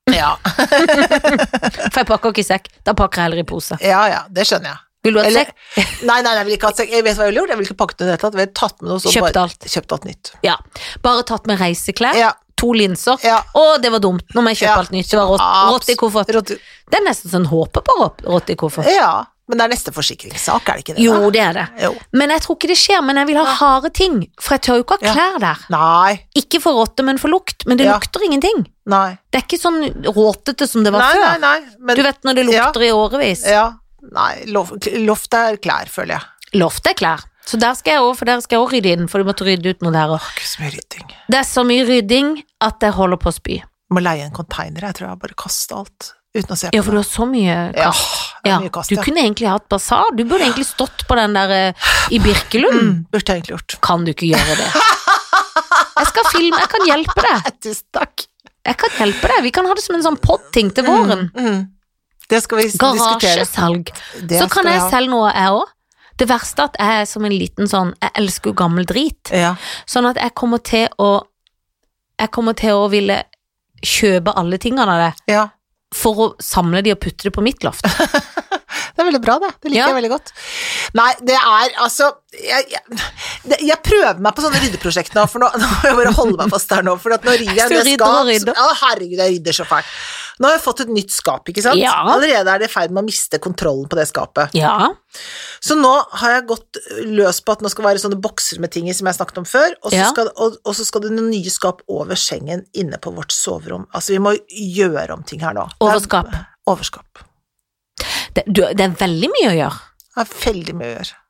[SPEAKER 2] Ja.
[SPEAKER 1] For jeg pakker ikke i sekk, da pakker jeg heller i pose.
[SPEAKER 2] ja, ja, det skjønner jeg.
[SPEAKER 1] Vil du ha et
[SPEAKER 2] Eller,
[SPEAKER 1] sekk?
[SPEAKER 2] nei, nei, jeg vil ikke ha sekk. Jeg vet hva jeg ville gjort, jeg ville ikke pakket det i det hele tatt. Jeg ville tatt med noe sånt.
[SPEAKER 1] Kjøpt alt.
[SPEAKER 2] Kjøpt alt nytt.
[SPEAKER 1] Ja. Bare tatt med reiseklær,
[SPEAKER 2] Ja.
[SPEAKER 1] to linser.
[SPEAKER 2] Ja.
[SPEAKER 1] Å, det var dumt, nå må jeg kjøpe
[SPEAKER 2] Ja.
[SPEAKER 1] alt nytt. Det var rått, rått i koffert.
[SPEAKER 2] Rått i-
[SPEAKER 1] Det er nesten sånn håpet på rått- rått i koffert.
[SPEAKER 2] Ja, men det er neste forsikringssak, er det ikke det?
[SPEAKER 1] Jo,
[SPEAKER 2] da?
[SPEAKER 1] det er det.
[SPEAKER 2] Jo.
[SPEAKER 1] Men jeg tror ikke det skjer, men jeg vil ha harde ting, for jeg tør jo ikke ha
[SPEAKER 2] Ja.
[SPEAKER 1] klær der.
[SPEAKER 2] Nei,
[SPEAKER 1] Ikke for rotte, men for lukt. Men det
[SPEAKER 2] Ja.
[SPEAKER 1] lukter ingenting.
[SPEAKER 2] nei.
[SPEAKER 1] Det er ikke sånn råtete som det var
[SPEAKER 2] Nei,
[SPEAKER 1] før.
[SPEAKER 2] nei, nei. Men,
[SPEAKER 1] Du vet når det lukter i årevis.
[SPEAKER 2] Ja, nei, lof, loft er klær, føler jeg.
[SPEAKER 1] Loft er klær. Så der skal jeg òg, for der skal jeg også rydde inn, for du måtte rydde ut noe der òg.
[SPEAKER 2] Ikke så mye rydding.
[SPEAKER 1] Det er så mye rydding at jeg holder på å spy.
[SPEAKER 2] Må leie en container, jeg tror jeg bare kaster alt, uten å se på
[SPEAKER 1] Ja, for du har så mye
[SPEAKER 2] det. Ja,
[SPEAKER 1] kast.
[SPEAKER 2] det er
[SPEAKER 1] Ja,
[SPEAKER 2] mye kast,
[SPEAKER 1] du
[SPEAKER 2] ja.
[SPEAKER 1] kunne egentlig hatt basar. Du burde egentlig stått på den der eh, i Birkelund.
[SPEAKER 2] Mm, burde jeg egentlig gjort.
[SPEAKER 1] Kan du ikke gjøre det? Jeg skal filme, jeg kan hjelpe deg.
[SPEAKER 2] Nei, Tusen takk.
[SPEAKER 1] Jeg kan hjelpe deg. Vi kan ha det som en sånn pod-ting til våren.
[SPEAKER 2] Mm. Det skal vi s- diskutere.
[SPEAKER 1] Garasjesalg.
[SPEAKER 2] Det
[SPEAKER 1] Så
[SPEAKER 2] skal
[SPEAKER 1] kan jeg
[SPEAKER 2] ha.
[SPEAKER 1] selge noe, jeg òg. Det verste er at jeg er som en liten sånn Jeg elsker jo gammel drit.
[SPEAKER 2] Ja.
[SPEAKER 1] Sånn at jeg kommer til å Jeg kommer til å ville kjøpe alle tingene av det
[SPEAKER 2] ja.
[SPEAKER 1] for å samle de og putte det på mitt loft.
[SPEAKER 2] Det er veldig bra, det. Det liker
[SPEAKER 1] Ja.
[SPEAKER 2] jeg veldig godt. Nei, det er altså Jeg, jeg, det, jeg prøver meg på sånne ryddeprosjekt nå, for nå, nå må jeg bare holde meg fast her nå. For at nå rydder jeg
[SPEAKER 1] Du
[SPEAKER 2] det
[SPEAKER 1] rydder og
[SPEAKER 2] skap
[SPEAKER 1] rydder.
[SPEAKER 2] Ja, herregud, jeg rydder så fælt. Nå har jeg fått et nytt skap, ikke sant?
[SPEAKER 1] Ja.
[SPEAKER 2] Allerede er det i ferd med å miste kontrollen på det skapet.
[SPEAKER 1] Ja.
[SPEAKER 2] Så nå har jeg gått løs på at nå skal være sånne bokser med ting i som jeg snakket om før, og så,
[SPEAKER 1] Ja.
[SPEAKER 2] skal, og, og så skal det noen nye skap over sengen inne på vårt soverom. Altså, vi må gjøre om ting her nå. Det er-
[SPEAKER 1] Overskap.
[SPEAKER 2] Overskap.
[SPEAKER 1] Det, du, det er veldig mye å gjøre.
[SPEAKER 2] Det er veldig mye å gjøre.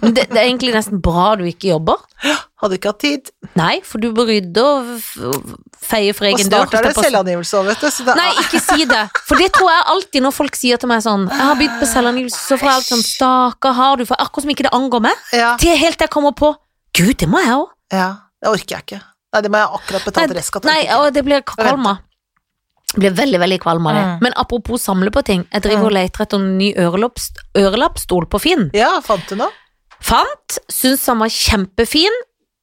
[SPEAKER 1] Men det, det er egentlig nesten bra du ikke jobber.
[SPEAKER 2] Hadde ikke hatt tid.
[SPEAKER 1] Nei, for du bør rydde og f- feie for
[SPEAKER 2] Og
[SPEAKER 1] egen dør.
[SPEAKER 2] snart er det
[SPEAKER 1] holdt jeg på å si.
[SPEAKER 2] selvangivelse òg, vet du. Så det
[SPEAKER 1] Nei, ikke si det. For det tror jeg alltid når folk sier til meg sånn Jeg har begynt på selvangivelse, så får jeg alt sånn Stakkar, har du For akkurat som ikke det angår meg.
[SPEAKER 2] ja,
[SPEAKER 1] Til helt til jeg kommer på Gud, det må jeg òg.
[SPEAKER 2] ja, det orker jeg ikke. Nei, det må jeg akkurat betale reskatt.
[SPEAKER 1] Nei, og det blir kvalma. Jeg Blir veldig, veldig kvalm av det.
[SPEAKER 2] Mm.
[SPEAKER 1] Men apropos samle på ting. Jeg driver og leter etter en ny ørelopps- ørelappstol på Finn.
[SPEAKER 2] Ja, fant du noe?
[SPEAKER 1] Fant, syntes han var kjempefin.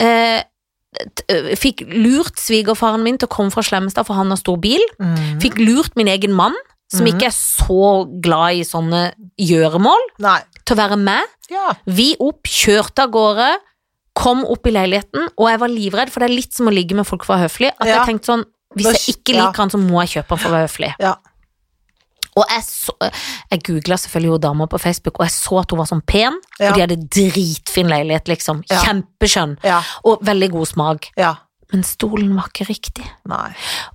[SPEAKER 1] Eh, t- eh, fikk lurt svigerfaren min til å komme fra Slemmestad, for han har stor bil.
[SPEAKER 2] Mm.
[SPEAKER 1] Fikk lurt min egen mann, som
[SPEAKER 2] Mhm.
[SPEAKER 1] ikke er så glad i sånne gjøremål,
[SPEAKER 2] Nei.
[SPEAKER 1] til å være med.
[SPEAKER 2] Ja.
[SPEAKER 1] Vi opp, kjørte av gårde, kom opp i leiligheten, og jeg var livredd, for det er litt som å ligge med folk for å være høflig. At
[SPEAKER 2] Ja.
[SPEAKER 1] jeg tenkte sånn, hvis
[SPEAKER 2] Nå
[SPEAKER 1] jeg
[SPEAKER 2] sk-
[SPEAKER 1] ikke
[SPEAKER 2] ja.
[SPEAKER 1] liker han, så må jeg kjøpe han for å være høflig.
[SPEAKER 2] Ja.
[SPEAKER 1] Og jeg, så, jeg googlet selvfølgelig hun dama på Facebook, og jeg så at hun var sånn pen,
[SPEAKER 2] Ja.
[SPEAKER 1] og de hadde dritfin leilighet, liksom.
[SPEAKER 2] Ja.
[SPEAKER 1] Kjempeskjønn,
[SPEAKER 2] Ja.
[SPEAKER 1] og veldig god smak.
[SPEAKER 2] ja.
[SPEAKER 1] Men stolen var ikke riktig.
[SPEAKER 2] Nei.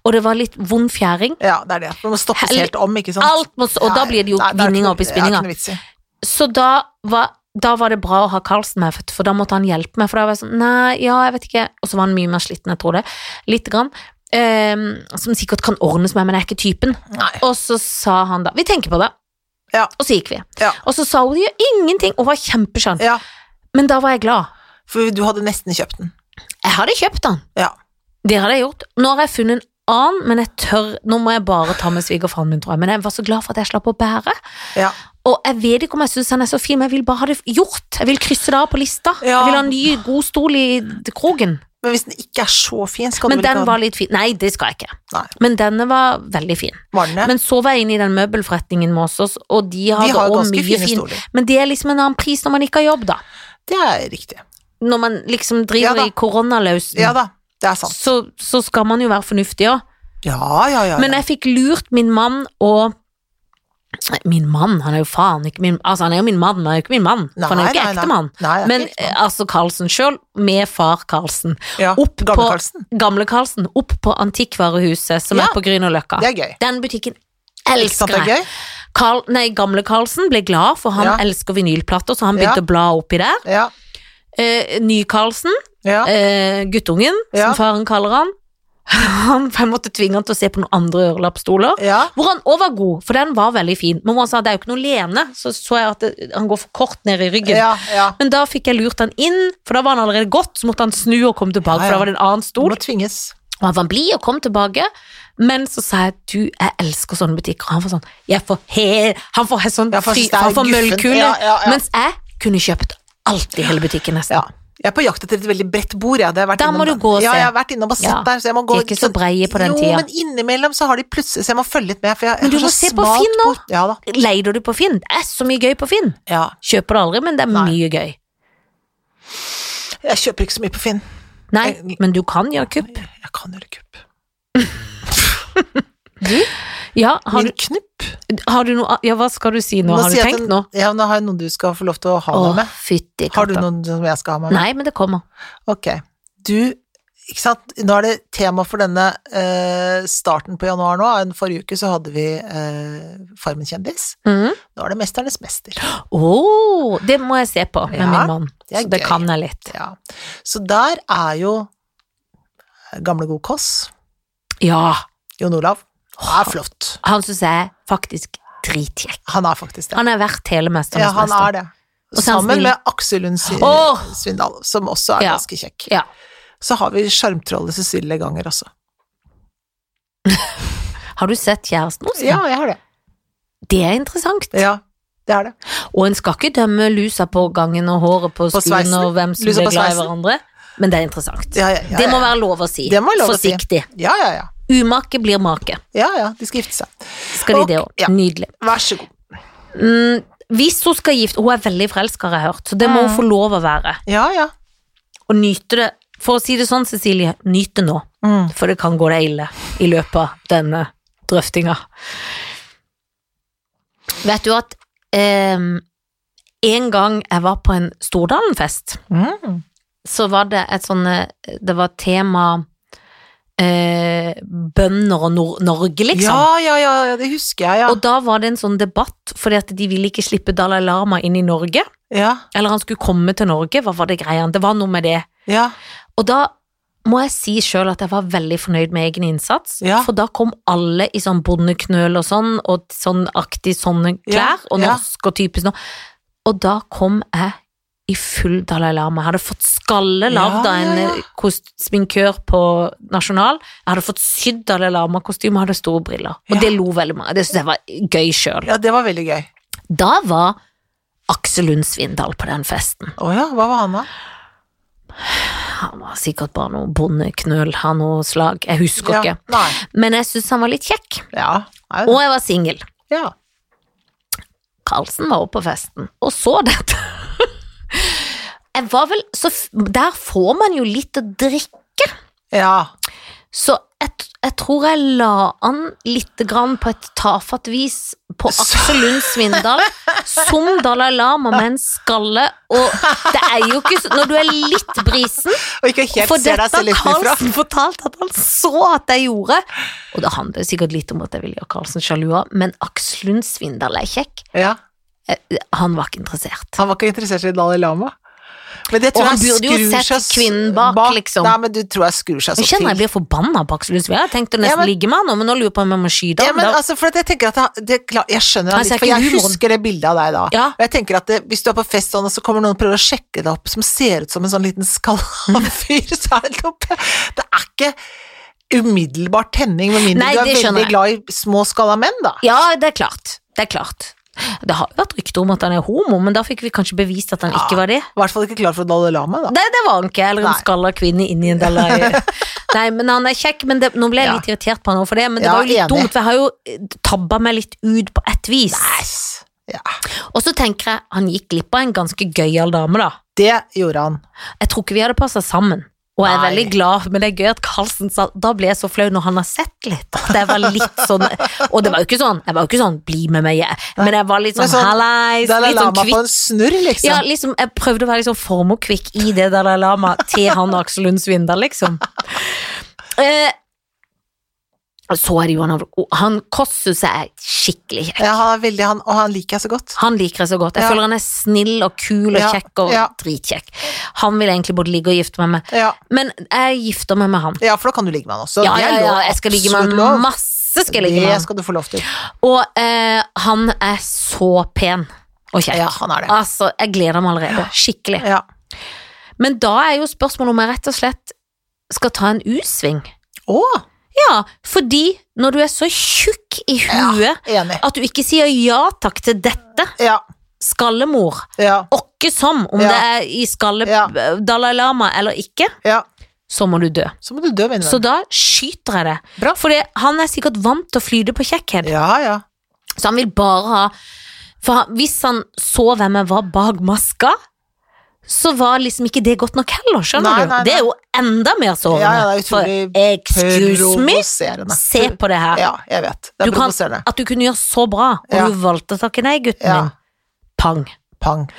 [SPEAKER 1] Og det var litt vond fjæring.
[SPEAKER 2] Ja, det er det. Man må stoppes
[SPEAKER 1] Hell-
[SPEAKER 2] helt om, ikke sant?
[SPEAKER 1] Alt må, s- og da
[SPEAKER 2] Nei,
[SPEAKER 1] blir det jo
[SPEAKER 2] nei, er ikke
[SPEAKER 1] vinninger
[SPEAKER 2] noe-
[SPEAKER 1] opp i
[SPEAKER 2] Ja,
[SPEAKER 1] spinninga.
[SPEAKER 2] ikke noe vits i.
[SPEAKER 1] Så da var, da var det bra å ha Karlsen med, for da måtte han hjelpe meg. For da var jeg sånn, nei, ja, jeg vet ikke. Og så var han mye mer sliten, jeg tror det. Litt grann. Ehm, som sikkert kan ordnes med, men jeg er ikke typen.
[SPEAKER 2] Nei.
[SPEAKER 1] Og så sa han da Vi tenker på det.
[SPEAKER 2] Ja.
[SPEAKER 1] Og så gikk vi.
[SPEAKER 2] Ja.
[SPEAKER 1] Og så sa hun det gjør ingenting, og var kjempeskjønn.
[SPEAKER 2] ja,
[SPEAKER 1] Men da var jeg glad.
[SPEAKER 2] for du hadde nesten kjøpt den.
[SPEAKER 1] Jeg hadde kjøpt den.
[SPEAKER 2] Ja.
[SPEAKER 1] Det hadde jeg gjort. Nå har jeg funnet en annen, men jeg tør Nå må jeg bare ta med svigerfaren min, tror jeg. Men jeg var så glad for at jeg slapp å bære.
[SPEAKER 2] Ja.
[SPEAKER 1] Og jeg vet ikke om jeg syns han er så fin, men jeg vil bare ha det gjort. Jeg vil krysse det av på lista. Jeg
[SPEAKER 2] Ja.
[SPEAKER 1] vil ha en ny, god stol i kroken.
[SPEAKER 2] Men hvis den ikke er så fin, skal du
[SPEAKER 1] Men
[SPEAKER 2] vel ikke
[SPEAKER 1] den
[SPEAKER 2] ha
[SPEAKER 1] var litt fin. Nei, det skal jeg ikke.
[SPEAKER 2] Nei.
[SPEAKER 1] Men denne var veldig fin.
[SPEAKER 2] Var den det?
[SPEAKER 1] Men så var jeg inne i den møbelforretningen med oss, også, og de har,
[SPEAKER 2] De har
[SPEAKER 1] det også
[SPEAKER 2] ganske
[SPEAKER 1] mye
[SPEAKER 2] fine
[SPEAKER 1] fin.
[SPEAKER 2] stoler.
[SPEAKER 1] Men det er liksom en annen pris når man ikke har jobb, da.
[SPEAKER 2] Det er riktig.
[SPEAKER 1] Når man liksom
[SPEAKER 2] Ja
[SPEAKER 1] driver
[SPEAKER 2] da.
[SPEAKER 1] i koronalausen.
[SPEAKER 2] Ja da, det er sant.
[SPEAKER 1] så, så skal man jo være fornuftig òg.
[SPEAKER 2] Ja, ja, ja. ja.
[SPEAKER 1] Men jeg fikk lurt min mann og Min mann, han er jo faen ikke min Altså, han er jo min mann, men han er jo ikke min mann. for han er jo ikke
[SPEAKER 2] Nei, nei, nei.
[SPEAKER 1] ektemann.
[SPEAKER 2] Nei, han er
[SPEAKER 1] Men
[SPEAKER 2] ikke ektemann.
[SPEAKER 1] eh, altså, Karlsen sjøl, med far Karlsen.
[SPEAKER 2] Ja,
[SPEAKER 1] opp på-
[SPEAKER 2] gamle Karlsen.
[SPEAKER 1] Gamle Karlsen, opp på Antikvarehuset, som
[SPEAKER 2] Ja,
[SPEAKER 1] er på Grünerløkka.
[SPEAKER 2] Det er gøy.
[SPEAKER 1] Den butikken
[SPEAKER 2] Ikke sant
[SPEAKER 1] elsker
[SPEAKER 2] det er
[SPEAKER 1] jeg.
[SPEAKER 2] gøy?
[SPEAKER 1] Karl, nei, gamle Karlsen ble glad, for han
[SPEAKER 2] Ja.
[SPEAKER 1] elsker vinylplater, så han
[SPEAKER 2] Ja.
[SPEAKER 1] begynte å bla oppi der.
[SPEAKER 2] Ja.
[SPEAKER 1] Eh, Ny-Karlsen,
[SPEAKER 2] ja.
[SPEAKER 1] eh, guttungen,
[SPEAKER 2] Ja.
[SPEAKER 1] som faren kaller han. han jeg måtte tvinge han til å se på noen andre ørelappstoler.
[SPEAKER 2] ja.
[SPEAKER 1] Hvor han òg var god, for den var veldig fin. Men hvor han sa det er jo ikke noe lene, så så jeg at det, han går for kort ned i ryggen.
[SPEAKER 2] Ja, ja.
[SPEAKER 1] Men da fikk jeg lurt han inn, for da var han allerede gått, så måtte han snu og komme tilbake,
[SPEAKER 2] Ja, ja.
[SPEAKER 1] for da var det en annen
[SPEAKER 2] Du
[SPEAKER 1] stol.
[SPEAKER 2] må tvinges.
[SPEAKER 1] Og han var blid og kom tilbake, men så sa jeg du, jeg elsker sånne butikker. Og han var sånn jeg får he, Han får he, sånn
[SPEAKER 2] Ja, for
[SPEAKER 1] fri,
[SPEAKER 2] det er
[SPEAKER 1] han får
[SPEAKER 2] guffen.
[SPEAKER 1] møllkule.
[SPEAKER 2] Ja, ja, ja.
[SPEAKER 1] Mens jeg kunne kjøpt alt i hele butikken, nesten.
[SPEAKER 2] Ja. Jeg er på jakt etter et veldig bredt bord. Ja. Det har jeg vært
[SPEAKER 1] Da
[SPEAKER 2] innom
[SPEAKER 1] må du gå og
[SPEAKER 2] ja,
[SPEAKER 1] se.
[SPEAKER 2] jeg har vært innom og sett
[SPEAKER 1] Ja.
[SPEAKER 2] der. Så jeg må gå,
[SPEAKER 1] De
[SPEAKER 2] liksom-
[SPEAKER 1] er ikke så breie på den tida.
[SPEAKER 2] Jo, men innimellom så har de plutselig Så jeg må følge litt med. For jeg, jeg
[SPEAKER 1] Men du
[SPEAKER 2] har
[SPEAKER 1] må
[SPEAKER 2] så
[SPEAKER 1] se på
[SPEAKER 2] smalt
[SPEAKER 1] Finn nå.
[SPEAKER 2] bord. Ja da.
[SPEAKER 1] Leide du på Finn? Det er så mye gøy på Finn.
[SPEAKER 2] Ja.
[SPEAKER 1] Kjøper det aldri, men det er
[SPEAKER 2] Nei.
[SPEAKER 1] mye gøy.
[SPEAKER 2] Jeg kjøper ikke så mye på Finn.
[SPEAKER 1] Nei,
[SPEAKER 2] Jeg-
[SPEAKER 1] men du kan gjøre kupp.
[SPEAKER 2] Jeg kan gjøre kupp.
[SPEAKER 1] Ja, har,
[SPEAKER 2] Min
[SPEAKER 1] du,
[SPEAKER 2] knupp.
[SPEAKER 1] har du noe Ja, hva skal du si nå?
[SPEAKER 2] Må
[SPEAKER 1] Har du
[SPEAKER 2] si at
[SPEAKER 1] tenkt
[SPEAKER 2] den-
[SPEAKER 1] noe?
[SPEAKER 2] Ja, nå har jeg noen du skal få lov til å ha
[SPEAKER 1] Å,
[SPEAKER 2] meg med.
[SPEAKER 1] fytti
[SPEAKER 2] Har du
[SPEAKER 1] katta.
[SPEAKER 2] noen som jeg skal ha meg med?
[SPEAKER 1] Nei, men det kommer.
[SPEAKER 2] Ok. Du, ikke sant. Nå er det tema for denne eh, starten på januar nå. En Forrige uke så hadde vi eh, Farmen kjendis.
[SPEAKER 1] Mhm.
[SPEAKER 2] Nå er det Mesternes mester.
[SPEAKER 1] Å, det må jeg se på med
[SPEAKER 2] Ja,
[SPEAKER 1] min mann.
[SPEAKER 2] det er
[SPEAKER 1] Så det
[SPEAKER 2] gøy.
[SPEAKER 1] kan jeg litt.
[SPEAKER 2] Ja. Så der er jo gamle god Kåss,
[SPEAKER 1] Ja,
[SPEAKER 2] Jon Olav. Han er flott.
[SPEAKER 1] han syns jeg er faktisk dritkjekk.
[SPEAKER 2] Han er faktisk det.
[SPEAKER 1] Han er verdt hele mesternes
[SPEAKER 2] Ja, han
[SPEAKER 1] mester.
[SPEAKER 2] er det.
[SPEAKER 1] Og så er han
[SPEAKER 2] Sammen
[SPEAKER 1] snill.
[SPEAKER 2] med Aksel Lund Sy-
[SPEAKER 1] Åh!
[SPEAKER 2] Svindal, som også er
[SPEAKER 1] Ja.
[SPEAKER 2] ganske kjekk.
[SPEAKER 1] Ja.
[SPEAKER 2] Så har vi sjarmtrollet Cecilie Ganger også.
[SPEAKER 1] Har du sett kjæresten hos
[SPEAKER 2] Ja,
[SPEAKER 1] ham?
[SPEAKER 2] jeg har det.
[SPEAKER 1] Det er interessant.
[SPEAKER 2] Ja, det er det.
[SPEAKER 1] Og en skal ikke dømme lusa på gangen og håret på,
[SPEAKER 2] På
[SPEAKER 1] skuen
[SPEAKER 2] sveisen.
[SPEAKER 1] og hvem som
[SPEAKER 2] Lusa
[SPEAKER 1] blir
[SPEAKER 2] på
[SPEAKER 1] glad i
[SPEAKER 2] sveisen.
[SPEAKER 1] hverandre, men det er interessant.
[SPEAKER 2] Ja, ja, ja,
[SPEAKER 1] Det må
[SPEAKER 2] ja.
[SPEAKER 1] være lov å si.
[SPEAKER 2] Det må være lov å si.
[SPEAKER 1] Forsiktig.
[SPEAKER 2] Ja, ja, ja.
[SPEAKER 1] Umake blir make.
[SPEAKER 2] Ja, ja, de skal gifte seg.
[SPEAKER 1] Skal de
[SPEAKER 2] Ok,
[SPEAKER 1] det òg?
[SPEAKER 2] ja.
[SPEAKER 1] Nydelig.
[SPEAKER 2] Vær så god.
[SPEAKER 1] Mm, hvis hun skal gifte Hun er veldig forelska, har jeg hørt, så det må hun
[SPEAKER 2] Mm.
[SPEAKER 1] få lov å være.
[SPEAKER 2] Ja, ja.
[SPEAKER 1] Og nyte det. For å si det sånn, Cecilie, nyt det nå.
[SPEAKER 2] Mm.
[SPEAKER 1] For det kan gå deg ille i løpet av denne drøftinga. Vet du at eh, en gang jeg var på en Stordalen-fest,
[SPEAKER 2] Mm.
[SPEAKER 1] så var det et sånn eh, Det var tema eh, bønder og Nor Norge, liksom.
[SPEAKER 2] Ja, ja, ja, ja, det husker jeg, ja.
[SPEAKER 1] Og da var det en sånn debatt, fordi at de ville ikke slippe Dalai Lama inn i Norge.
[SPEAKER 2] Ja,
[SPEAKER 1] Eller han skulle komme til Norge, hva var det greia? Det var noe med det.
[SPEAKER 2] ja,
[SPEAKER 1] Og da må jeg si sjøl at jeg var veldig fornøyd med egen innsats,
[SPEAKER 2] Ja.
[SPEAKER 1] for da kom alle i sånn bondeknøl og sånn, og sånn aktig sånne
[SPEAKER 2] Ja,
[SPEAKER 1] klær, og
[SPEAKER 2] ja.
[SPEAKER 1] norsk og typisk noe. Og da kom jeg i full Dalai Lama. Jeg hadde fått skalle lagd
[SPEAKER 2] Ja,
[SPEAKER 1] av en
[SPEAKER 2] ja, ja.
[SPEAKER 1] eh, kost- sminkør på Nasjonal. Jeg hadde fått sydd Dalai Lama-kostyme og hadde store briller. Og
[SPEAKER 2] Ja.
[SPEAKER 1] det lo veldig mange. Det syntes jeg var gøy sjøl.
[SPEAKER 2] ja, det var veldig gøy.
[SPEAKER 1] Da var Aksel Lund Svindal på den festen.
[SPEAKER 2] Å ja, hva var han da?
[SPEAKER 1] Han var sikkert bare noe bondeknøl av noe slag, jeg husker
[SPEAKER 2] Ja,
[SPEAKER 1] ikke.
[SPEAKER 2] nei,
[SPEAKER 1] Men jeg syns han var litt kjekk,
[SPEAKER 2] ja, nei,
[SPEAKER 1] og jeg var singel.
[SPEAKER 2] ja.
[SPEAKER 1] Karlsen var oppe på festen og så dette. Jeg var vel, så f- Der får man jo litt å drikke,
[SPEAKER 2] Ja,
[SPEAKER 1] så jeg, t- jeg tror jeg la an lite grann på et tafatt vis på
[SPEAKER 2] Så-
[SPEAKER 1] Aksel Lund Svindal som Dalai Lama med en skalle, og det er jo ikke så Når du er litt brisen
[SPEAKER 2] og ikke helt
[SPEAKER 1] For
[SPEAKER 2] ser
[SPEAKER 1] dette
[SPEAKER 2] deg selv utenfra.
[SPEAKER 1] Carlsen fortalte at han så at jeg gjorde. Og det handler sikkert litt om at jeg ville gjøre Carlsen sjalu òg, men Aksel Lund Svindal er kjekk.
[SPEAKER 2] Ja,
[SPEAKER 1] Eh, Han var ikke interessert.
[SPEAKER 2] han var ikke interessert i Dalai Lama. Men det
[SPEAKER 1] Og
[SPEAKER 2] tror
[SPEAKER 1] han
[SPEAKER 2] jeg
[SPEAKER 1] burde jo
[SPEAKER 2] skrur
[SPEAKER 1] sett
[SPEAKER 2] seg s-
[SPEAKER 1] kvinnen bak, liksom.
[SPEAKER 2] Nei, men du tror jeg skrur seg så
[SPEAKER 1] Jeg
[SPEAKER 2] til.
[SPEAKER 1] kjenner jeg blir forbanna på Aksel Lund Svindal. Jeg tenkte å nesten
[SPEAKER 2] Ja, men-
[SPEAKER 1] ligge med han nå, men nå lurer jeg på om jeg må skyte
[SPEAKER 2] Ja,
[SPEAKER 1] han.
[SPEAKER 2] men
[SPEAKER 1] Da-
[SPEAKER 2] altså, for at jeg tenker at han- det, er klart- Jeg skjønner
[SPEAKER 1] Han
[SPEAKER 2] han
[SPEAKER 1] ser
[SPEAKER 2] litt, for
[SPEAKER 1] ikke
[SPEAKER 2] jeg
[SPEAKER 1] humoren.
[SPEAKER 2] husker det bildet av deg da.
[SPEAKER 1] Ja.
[SPEAKER 2] Og jeg tenker at det, Hvis du er på fest sånn, og så kommer noen og prøver å sjekke deg opp som ser ut som en sånn liten skalla fyr, så er det oppe. Det er ikke umiddelbar tenning, med mindre
[SPEAKER 1] Nei,
[SPEAKER 2] du er
[SPEAKER 1] det skjønner jeg.
[SPEAKER 2] veldig glad i små skalla menn, da.
[SPEAKER 1] Ja, det er klart. Det er klart. Det har jo vært rykter om at han er homo, men da fikk vi kanskje bevist at han ikke var det.
[SPEAKER 2] I hvert fall ikke klar for Dalai Lama, da.
[SPEAKER 1] Nei, det var han ikke. Eller en
[SPEAKER 2] Nei.
[SPEAKER 1] skalla kvinne inni en dalai. Nei, men han er kjekk. Men det, nå ble jeg
[SPEAKER 2] Ja.
[SPEAKER 1] litt irritert på han for det, men det
[SPEAKER 2] Ja,
[SPEAKER 1] var jo litt
[SPEAKER 2] enig.
[SPEAKER 1] dumt, for jeg har jo eh, tabba meg litt ut på ett vis.
[SPEAKER 2] Yes. Ja.
[SPEAKER 1] Og så tenker jeg, han gikk glipp av en ganske gøyal dame, da.
[SPEAKER 2] Det gjorde han.
[SPEAKER 1] Jeg tror ikke vi hadde passa sammen. Og jeg er
[SPEAKER 2] Nei.
[SPEAKER 1] veldig glad, men det er gøy at Carlsen sa Da ble jeg så flau når han har sett litt. At jeg var litt sånn Og det var jo ikke sånn, jeg var jo ikke sånn 'bli med meg', jeg. men jeg var litt
[SPEAKER 2] Men
[SPEAKER 1] sånn
[SPEAKER 2] sånn,
[SPEAKER 1] hallais,
[SPEAKER 2] Dalai
[SPEAKER 1] litt sånn
[SPEAKER 2] Lama på
[SPEAKER 1] kvikk.
[SPEAKER 2] en snurr, liksom.
[SPEAKER 1] Ja, liksom, jeg prøvde å være liksom formokvikk i det Dalai Lama til han Aksel Lund Svindal, liksom. Eh, så er det Johan Havlo. Han Kåss syns jeg er skikkelig kjekk.
[SPEAKER 2] Ja, han er veldig, han, og han liker jeg så godt.
[SPEAKER 1] Han liker jeg så godt. Jeg
[SPEAKER 2] Ja.
[SPEAKER 1] føler han er snill og kul og
[SPEAKER 2] Ja,
[SPEAKER 1] kjekk og
[SPEAKER 2] ja.
[SPEAKER 1] dritkjekk. Han vil egentlig både ligge og gifte meg med.
[SPEAKER 2] Ja.
[SPEAKER 1] Men jeg gifter meg med han.
[SPEAKER 2] ja, for da kan du ligge med han også.
[SPEAKER 1] Ja,
[SPEAKER 2] Det
[SPEAKER 1] ja,
[SPEAKER 2] er
[SPEAKER 1] ja,
[SPEAKER 2] lov.
[SPEAKER 1] jeg skal ligge med
[SPEAKER 2] Absolutt
[SPEAKER 1] han.
[SPEAKER 2] lov.
[SPEAKER 1] Masse skal jeg ligge med
[SPEAKER 2] Det
[SPEAKER 1] han.
[SPEAKER 2] skal du få lov til.
[SPEAKER 1] Og eh, han er så pen og kjekk.
[SPEAKER 2] Ja, han er det.
[SPEAKER 1] Altså, jeg gleder meg allerede. Skikkelig.
[SPEAKER 2] Ja.
[SPEAKER 1] Men da er jo spørsmålet om jeg rett og slett skal ta en U-sving.
[SPEAKER 2] Å,
[SPEAKER 1] Ja, fordi når du er så tjukk i huet
[SPEAKER 2] enig.
[SPEAKER 1] at du ikke sier ja takk til dette,
[SPEAKER 2] Ja,
[SPEAKER 1] skallemor,
[SPEAKER 2] ja,
[SPEAKER 1] åkke som, om
[SPEAKER 2] Ja.
[SPEAKER 1] det er i skalle
[SPEAKER 2] Ja.
[SPEAKER 1] Dalai Lama eller ikke,
[SPEAKER 2] ja.
[SPEAKER 1] så må du dø.
[SPEAKER 2] Så må du dø, venner.
[SPEAKER 1] Så da skyter jeg det.
[SPEAKER 2] Bra.
[SPEAKER 1] For det- han er sikkert vant til å flyte på kjekkhet.
[SPEAKER 2] Ja, ja.
[SPEAKER 1] Så han vil bare ha For han, hvis han så hvem jeg var bak maska, så var liksom ikke det godt nok heller, skjønner
[SPEAKER 2] Nei,
[SPEAKER 1] du?
[SPEAKER 2] nei, nei.
[SPEAKER 1] Det er jo enda mer sårende.
[SPEAKER 2] Ja, ja, det er utrolig
[SPEAKER 1] For excuse me,
[SPEAKER 2] Provoserende.
[SPEAKER 1] se på det her.
[SPEAKER 2] Ja, jeg vet. Det
[SPEAKER 1] Du
[SPEAKER 2] er
[SPEAKER 1] kan-
[SPEAKER 2] provoserende.
[SPEAKER 1] At du kunne gjøre så bra, og
[SPEAKER 2] Ja.
[SPEAKER 1] du valgte å takke nei, gutten
[SPEAKER 2] Ja.
[SPEAKER 1] min. Pang.
[SPEAKER 2] Pang.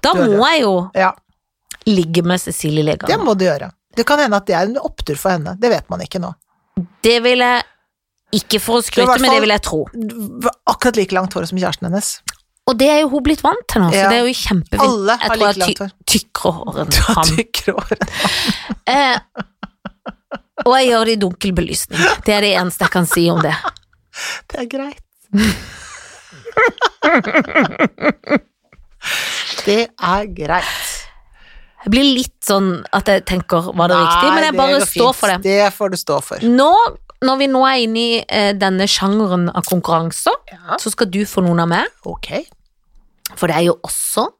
[SPEAKER 1] Da
[SPEAKER 2] Du er
[SPEAKER 1] må jeg jo
[SPEAKER 2] Ja,
[SPEAKER 1] ligge med Cecilie Legan.
[SPEAKER 2] det må du gjøre. Det kan hende at det er en opptur for henne. Det vet man ikke nå.
[SPEAKER 1] Det vil jeg ikke for å
[SPEAKER 2] Det er i
[SPEAKER 1] skryte,
[SPEAKER 2] hvert
[SPEAKER 1] men det
[SPEAKER 2] fall-
[SPEAKER 1] vil jeg tro.
[SPEAKER 2] Akkurat like langt hår som kjæresten hennes.
[SPEAKER 1] Og det er jo hun blitt vant til nå, så
[SPEAKER 2] Ja.
[SPEAKER 1] det er jo kjempefint.
[SPEAKER 2] Alle
[SPEAKER 1] jeg
[SPEAKER 2] har
[SPEAKER 1] tror
[SPEAKER 2] like
[SPEAKER 1] jeg
[SPEAKER 2] langt
[SPEAKER 1] har
[SPEAKER 2] hår.
[SPEAKER 1] ty tykkere hår enn
[SPEAKER 2] Du har
[SPEAKER 1] han.
[SPEAKER 2] tykkere hår.
[SPEAKER 1] Eh, og jeg gjør det i dunkel belysning. Det er det eneste jeg kan si om det.
[SPEAKER 2] Det er greit. det er greit.
[SPEAKER 1] Jeg blir litt sånn at jeg tenker var det riktig, men jeg bare
[SPEAKER 2] går
[SPEAKER 1] står
[SPEAKER 2] fint.
[SPEAKER 1] for det.
[SPEAKER 2] Det får du stå for.
[SPEAKER 1] Nå, når vi nå er inne i eh, denne sjangeren av konkurranser,
[SPEAKER 2] Ja.
[SPEAKER 1] så skal du få noen av meg,
[SPEAKER 2] Ok.
[SPEAKER 1] for det er jo også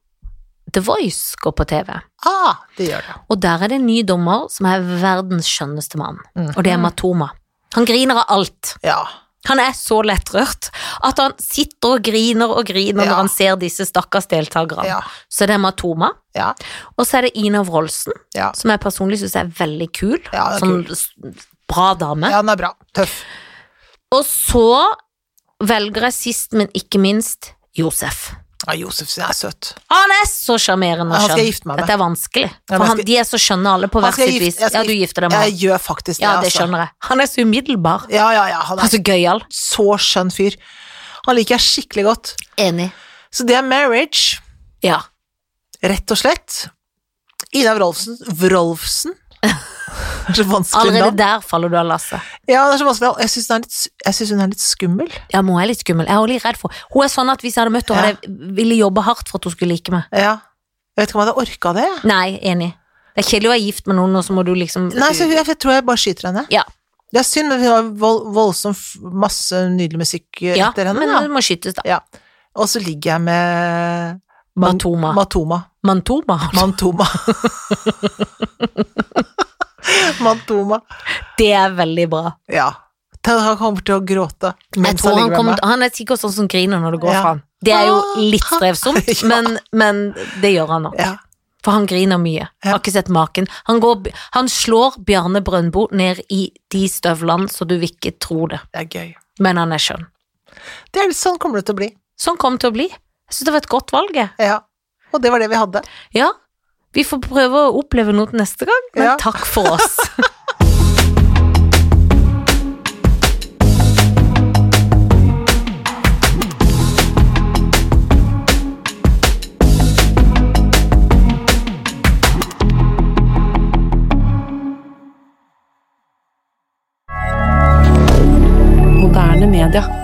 [SPEAKER 1] The Voice går på TV.
[SPEAKER 2] Ah, det gjør det.
[SPEAKER 1] Og der er det en ny dommer som er verdens skjønneste mann,
[SPEAKER 2] Mhm.
[SPEAKER 1] og det er Matoma. Han griner av alt.
[SPEAKER 2] Ja.
[SPEAKER 1] Han er så lettrørt at han sitter og griner og griner
[SPEAKER 2] Ja.
[SPEAKER 1] når han ser disse stakkars deltakerne.
[SPEAKER 2] Ja.
[SPEAKER 1] Så det er Matoma,
[SPEAKER 2] Ja.
[SPEAKER 1] og så er det Ina Wroldsen,
[SPEAKER 2] Ja.
[SPEAKER 1] som jeg personlig syns er veldig kul.
[SPEAKER 2] Ja, hun er
[SPEAKER 1] sånn s- bra dame.
[SPEAKER 2] ja, den er bra. Tøff.
[SPEAKER 1] Og så velger jeg sist, men ikke minst, Josef.
[SPEAKER 2] Ja, Ah, Josef sin er søt.
[SPEAKER 1] Han er så sjarmerende
[SPEAKER 2] Ja,
[SPEAKER 1] og
[SPEAKER 2] han skal jeg gifte
[SPEAKER 1] skjønn.
[SPEAKER 2] meg med.
[SPEAKER 1] Dette er vanskelig. For
[SPEAKER 2] Ja, men jeg
[SPEAKER 1] han,
[SPEAKER 2] skal-
[SPEAKER 1] de er så skjønne alle på
[SPEAKER 2] Han
[SPEAKER 1] hvert
[SPEAKER 2] skal
[SPEAKER 1] sitt
[SPEAKER 2] gifte-
[SPEAKER 1] vis.
[SPEAKER 2] jeg skal
[SPEAKER 1] Ja, du gifter deg med
[SPEAKER 2] Jeg
[SPEAKER 1] han.
[SPEAKER 2] gjør faktisk det,
[SPEAKER 1] Ja, det
[SPEAKER 2] altså.
[SPEAKER 1] skjønner jeg. Han er så umiddelbar.
[SPEAKER 2] Ja, ja, ja.
[SPEAKER 1] Han
[SPEAKER 2] Han
[SPEAKER 1] er
[SPEAKER 2] er
[SPEAKER 1] så gøyal.
[SPEAKER 2] så skjønn fyr. Han liker jeg skikkelig godt.
[SPEAKER 1] Enig.
[SPEAKER 2] Så det er marriage,
[SPEAKER 1] Ja.
[SPEAKER 2] rett og slett. Ina Wrolfsen Wrolfsen. Det er så vanskelig
[SPEAKER 1] Allerede
[SPEAKER 2] navn.
[SPEAKER 1] der faller du av lasset.
[SPEAKER 2] Ja, det er så vanskelig. navn. Jeg syns hun, er litt- jeg synes hun er litt skummel.
[SPEAKER 1] Ja, men hun er litt skummel. Jeg er også litt redd for Hun er sånn at hvis jeg hadde møtt henne,
[SPEAKER 2] Ja.
[SPEAKER 1] hadde jeg ville jobbe hardt for at hun skulle like meg.
[SPEAKER 2] Ja. Jeg vet ikke om jeg hadde orka det. jeg.
[SPEAKER 1] Nei, enig. Det er kjedelig å være gift med noen, og så må du liksom
[SPEAKER 2] Nei, så jeg, jeg tror jeg bare skyter henne.
[SPEAKER 1] Ja.
[SPEAKER 2] Det er synd, men vi har vold, voldsomt f- masse nydelig musikk eh,
[SPEAKER 1] ja,
[SPEAKER 2] etter henne.
[SPEAKER 1] men
[SPEAKER 2] da.
[SPEAKER 1] det må skytes, da.
[SPEAKER 2] Ja. Og så ligger jeg med Man-
[SPEAKER 1] Matoma.
[SPEAKER 2] Matoma.
[SPEAKER 1] Mantoma.
[SPEAKER 2] Mantoma. Mantoma.
[SPEAKER 1] Det er veldig bra.
[SPEAKER 2] Ja. Til Han kommer til å gråte
[SPEAKER 1] Jeg
[SPEAKER 2] mens han
[SPEAKER 1] tror han,
[SPEAKER 2] ligger med
[SPEAKER 1] kommer,
[SPEAKER 2] meg.
[SPEAKER 1] han er sikkert sånn som griner når det går
[SPEAKER 2] Ja.
[SPEAKER 1] fra han. Det er jo litt strevsomt,
[SPEAKER 2] Ja.
[SPEAKER 1] men, men det gjør han nok.
[SPEAKER 2] Ja.
[SPEAKER 1] For han griner mye. Har ikke sett maken. Han, går, han slår Bjarne Brøndbo ned i de støvlene, så du vil ikke tro det.
[SPEAKER 2] Det er gøy.
[SPEAKER 1] Men han er skjønn.
[SPEAKER 2] Det er litt sånn kommer det til å bli.
[SPEAKER 1] Sånn kom det til å bli. Jeg syns det var et godt valg, jeg.
[SPEAKER 2] Ja. Og det var det vi hadde.
[SPEAKER 1] Ja. Vi får prøve å oppleve noe til neste gang, men
[SPEAKER 2] Ja.
[SPEAKER 1] takk for oss.
[SPEAKER 3] Moderne media.